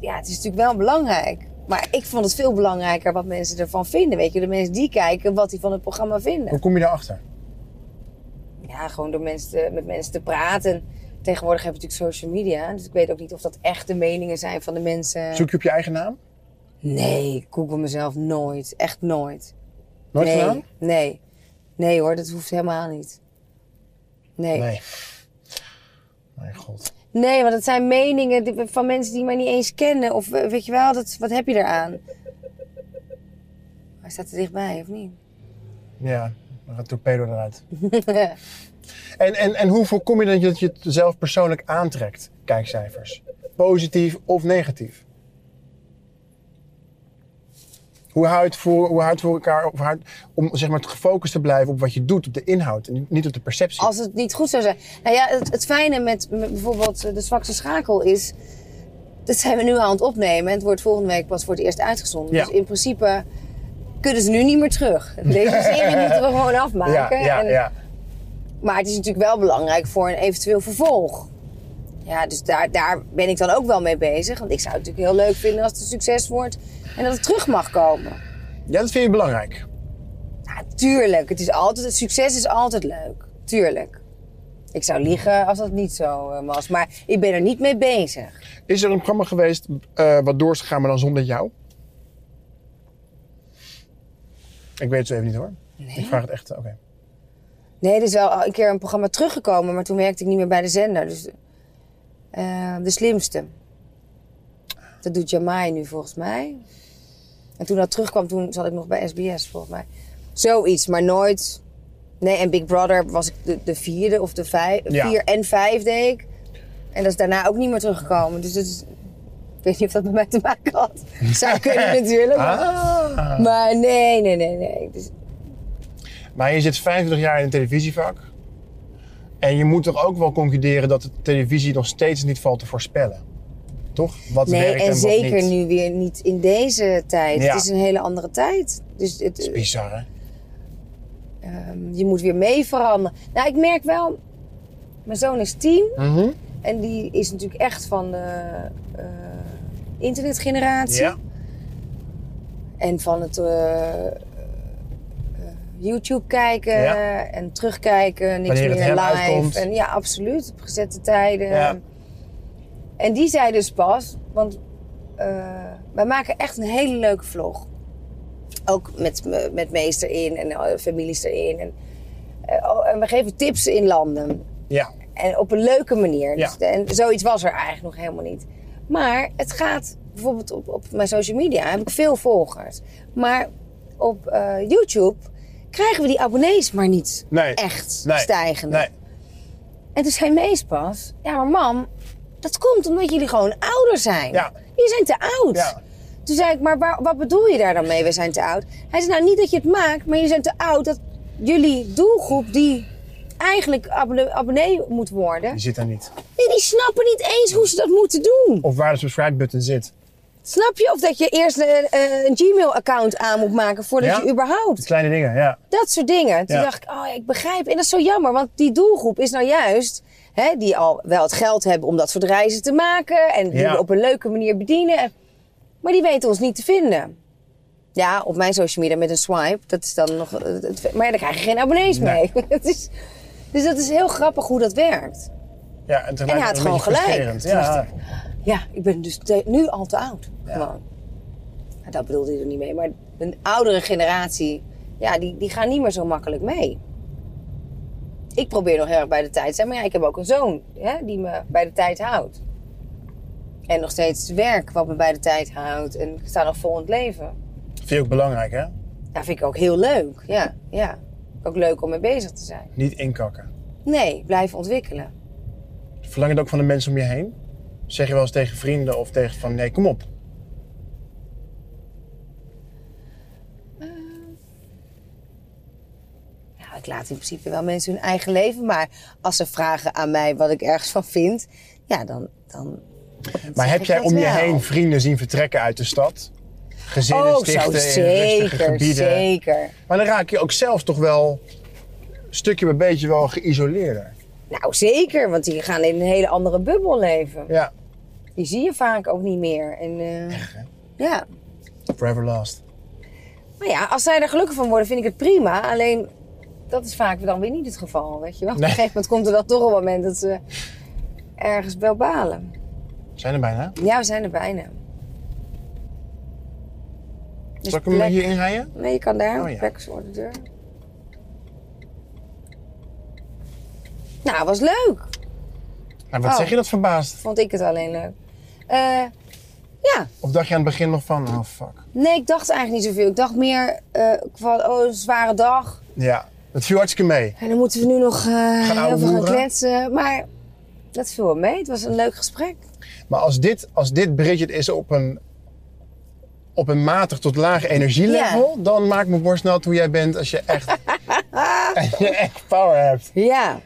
Speaker 2: Ja, het is natuurlijk wel belangrijk. Maar ik vond het veel belangrijker wat mensen ervan vinden. Weet je, de mensen die kijken, wat die van het programma
Speaker 3: Hoe
Speaker 2: vinden.
Speaker 3: kom je daarachter?
Speaker 2: Ja, gewoon door mensen te- met mensen te praten. En Tegenwoordig heb je natuurlijk social media. Dus ik weet ook niet of dat echt de meningen zijn van de mensen.
Speaker 3: Zoek je op je eigen naam?
Speaker 2: Nee, ik google mezelf nooit. Echt nooit.
Speaker 3: Nooit
Speaker 2: nee,
Speaker 3: gedaan?
Speaker 2: Nee. Nee hoor, dat hoeft helemaal niet. Nee.
Speaker 3: Nee. Mijn god.
Speaker 2: Nee, want het zijn meningen die- van mensen die mij niet eens kennen. Of eh, weet je wel, dat, wat heb je eraan? Hij staat er dichtbij, of niet?
Speaker 3: Ja, dan gaat de torpedo eruit. en, en, en hoe voorkom je dat je- dat je het zelf persoonlijk aantrekt, kijkcijfers? Positief of negatief? Hoe houdt het voor, hoe hou je het voor elkaar of hou je het- om zeg maar, gefocust te blijven op wat je doet, op de inhoud en niet op de perceptie?
Speaker 2: Als het niet goed zou zijn. Nou ja, het, het fijne met, met bijvoorbeeld eh, de zwakste schakel is... Dat zijn we nu aan het opnemen. En het wordt volgende week pas voor het eerst uitgezonden.
Speaker 3: Ja.
Speaker 2: Dus in principe kunnen ze nu niet meer terug. Deze serie moeten we gewoon
Speaker 3: ja,
Speaker 2: afmaken.
Speaker 3: ja,
Speaker 2: En-
Speaker 3: ja.
Speaker 2: Maar het is natuurlijk wel belangrijk voor een eventueel vervolg. Ja, dus daar, daar ben ik dan ook wel mee bezig. Want ik zou het natuurlijk heel leuk vinden als het een succes wordt en dat het terug mag komen.
Speaker 3: ja, dat vind je belangrijk.
Speaker 2: Ja, tuurlijk. Het is altijd, het succes is altijd leuk. Tuurlijk. Ik zou liegen als dat niet zo eh, was. Maar ik ben er niet mee bezig.
Speaker 3: Is er een programma geweest eh, wat door is gegaan, maar dan zonder jou? Ik weet het zo even niet hoor. Ik vraag het echt. Oké.
Speaker 2: Nee, er is wel een keer een programma teruggekomen, maar toen werkte ik niet meer bij de zender. Dus eh, de slimste. Dat doet Jamai nu volgens mij. En toen dat terugkwam, toen zat ik nog bij SBS volgens mij. Zoiets, maar nooit. Nee, en Big Brother was ik de, de vierde of de vijf,
Speaker 3: Ja.
Speaker 2: vier en vijf deed ik. En dat is daarna ook niet meer teruggekomen. Dus dat is- ik weet niet of dat met mij te maken had. Zou kunnen natuurlijk. Maar,
Speaker 3: Ah.
Speaker 2: maar nee, nee, nee, nee. Dus
Speaker 3: Maar je zit 25 jaar in een televisievak. En je moet toch ook wel concluderen dat de televisie nog steeds niet valt te voorspellen. Toch? Wat
Speaker 2: Nee,
Speaker 3: werkt en,
Speaker 2: en
Speaker 3: wat
Speaker 2: zeker
Speaker 3: niet.
Speaker 2: nu weer niet in deze tijd.
Speaker 3: Ja.
Speaker 2: Het is een hele andere tijd. Dus het,
Speaker 3: Dat is bizar hè?
Speaker 2: ehm, je moet weer mee veranderen. Nou, ik merk wel, mijn zoon is tien
Speaker 3: Mhm.
Speaker 2: en die is natuurlijk echt van de eh, internetgeneratie
Speaker 3: Ja.
Speaker 2: en van het eh, eh, YouTube kijken
Speaker 3: Ja.
Speaker 2: en terugkijken, niks
Speaker 3: Wanneer het
Speaker 2: meer
Speaker 3: hem
Speaker 2: live.
Speaker 3: uitkomt.
Speaker 2: En ja, absoluut, op gezette tijden.
Speaker 3: Ja.
Speaker 2: En die zei dus pas, want eh, wij maken echt een hele leuke vlog. Ook met, me- met meester in en eh, families erin. En, eh, oh, en we geven tips in landen.
Speaker 3: ja.
Speaker 2: En op een leuke manier.
Speaker 3: Ja.
Speaker 2: Dus, en zoiets was er eigenlijk nog helemaal niet. Maar het gaat bijvoorbeeld op, op mijn social media heb ik veel volgers. Maar op eh, YouTube krijgen we die abonnees maar niet
Speaker 3: Nee.
Speaker 2: echt
Speaker 3: Nee.
Speaker 2: stijgende.
Speaker 3: Nee.
Speaker 2: En toen zei Mees pas, ja maar mam, dat komt omdat jullie gewoon ouder zijn.
Speaker 3: Ja.
Speaker 2: Jullie zijn te oud.
Speaker 3: Ja.
Speaker 2: Toen zei ik, maar waar- wat bedoel je daar dan mee, we zijn te oud? Hij zei, nou niet dat je het maakt, maar jullie zijn te oud dat jullie doelgroep die eigenlijk abonne- abonnee moet worden,
Speaker 3: Die zit daar niet.
Speaker 2: nee, die snappen niet eens hoe ze dat moeten doen.
Speaker 3: Of waar de subscribe button zit.
Speaker 2: Snap je? Of dat je eerst een, eh, een Gmail-account aan moet maken voordat
Speaker 3: Ja.
Speaker 2: je überhaupt
Speaker 3: Kleine dingen, ja.
Speaker 2: dat soort dingen. Toen
Speaker 3: Ja.
Speaker 2: dacht ik, oh, ik begrijp. En dat is zo jammer, want die doelgroep is nou juist... Hè, die al wel het geld hebben om dat soort reizen te maken... en die
Speaker 3: Ja.
Speaker 2: we op een leuke manier bedienen. Maar die weten ons niet te vinden. Ja, op mijn social media met een swipe. Dat is dan nog. eh, het- het- Maar ja, daar krijg je geen abonnees
Speaker 3: Nee.
Speaker 2: mee. Het is, dus dat is heel grappig hoe dat werkt.
Speaker 3: Ja, en tegelijk
Speaker 2: hij had
Speaker 3: een
Speaker 2: gewoon
Speaker 3: beetje
Speaker 2: gelijk.
Speaker 3: frustrerend.
Speaker 2: Toen
Speaker 3: Ja,
Speaker 2: dacht Ja, ik ben dus te- nu al te oud. Gewoon. Nou, dat bedoelde hij er niet mee. Maar een oudere generatie, ja, die, die gaan niet meer zo makkelijk mee. Ik probeer nog heel erg bij de tijd te zijn. Maar ja, ik heb ook een zoon hè, die me bij de tijd houdt. En nog steeds werk wat me bij de tijd houdt. En ik sta nog vol in het leven.
Speaker 3: vind je ook belangrijk, hè?
Speaker 2: Ja, vind ik ook heel leuk. Ja, ja. Ook leuk om mee bezig te zijn.
Speaker 3: Niet inkakken.
Speaker 2: Nee, blijven ontwikkelen.
Speaker 3: Verlang het ook van de mensen om je heen? Zeg je wel eens tegen vrienden of tegen van nee, kom op.
Speaker 2: Ja, ik laat in principe wel mensen hun eigen leven. Maar als ze vragen aan mij wat ik ergens van vind, ja, dan. dan
Speaker 3: Maar heb
Speaker 2: ik
Speaker 3: jij
Speaker 2: dat
Speaker 3: om je
Speaker 2: wel.
Speaker 3: heen vrienden zien vertrekken uit de stad? Gezinnen
Speaker 2: oh, zo
Speaker 3: stichten in rustige
Speaker 2: zeker,
Speaker 3: gebieden.
Speaker 2: zeker.
Speaker 3: Maar dan raak je ook zelf toch wel stukje bij beetje wel geïsoleerder.
Speaker 2: Nou, zeker, want die gaan in een hele andere bubbel leven.
Speaker 3: Ja,
Speaker 2: Die zie je vaak ook niet meer. En, eh,
Speaker 3: hè?
Speaker 2: ja.
Speaker 3: forever last.
Speaker 2: Maar ja, als zij er gelukkig van worden, vind ik het prima. Alleen, dat is vaak dan weer niet het geval, weet je wel. Op een
Speaker 3: Nee.
Speaker 2: gegeven moment komt er dan toch een moment dat ze ergens wel balen.
Speaker 3: We Zijn er bijna.
Speaker 2: Ja, we zijn er bijna. Dus
Speaker 3: Zal ik hem
Speaker 2: plek-
Speaker 3: hier inrijden?
Speaker 2: Nee, je kan daar.
Speaker 3: Oh, ja.
Speaker 2: Plek is voor de deur. Nou, was leuk.
Speaker 3: Nou, wat
Speaker 2: Oh.
Speaker 3: zeg je dat verbaasd?
Speaker 2: Vond ik het alleen leuk. Eh, ja,
Speaker 3: Of dacht je aan het begin nog van, oh fuck.
Speaker 2: nee, ik dacht eigenlijk niet zoveel. Ik dacht meer eh, van, oh, een zware dag.
Speaker 3: Ja, dat viel hartstikke mee.
Speaker 2: En dan moeten we nu nog eh, heel veel gaan
Speaker 3: ouwehoeren.
Speaker 2: kletsen. Maar dat viel wel mee. Het was een leuk gesprek.
Speaker 3: Maar als dit, als dit Bridget is op een, op een matig tot laag energielevel, dan maakt me borst nat hoe jij bent als je echt, als je echt power hebt.
Speaker 2: Ja.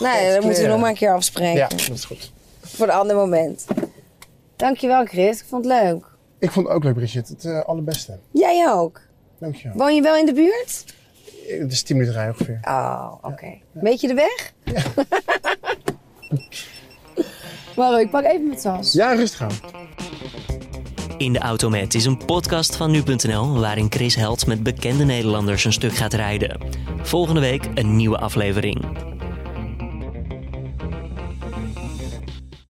Speaker 2: Nou, ja, dan moeten we
Speaker 3: Godskleren.
Speaker 2: nog maar een keer afspreken.
Speaker 3: Ja, dat is goed.
Speaker 2: Voor een ander moment. Dankjewel, Chris. Ik vond het leuk.
Speaker 3: Ik vond het ook leuk, Bridget. Het eh, allerbeste.
Speaker 2: Jij ook.
Speaker 3: Dankjewel.
Speaker 2: Woon je wel in de buurt?
Speaker 3: Eh, Het is 10 minuten rijden ongeveer.
Speaker 2: Oh, oké. Weet je de weg? Ja. Waarom? Ik pak even mijn tas.
Speaker 3: Ja, rustig aan.
Speaker 1: In de Auto Met is een podcast van nu.nl waarin Chris Held met bekende Nederlanders een stuk gaat rijden. Volgende week een nieuwe aflevering.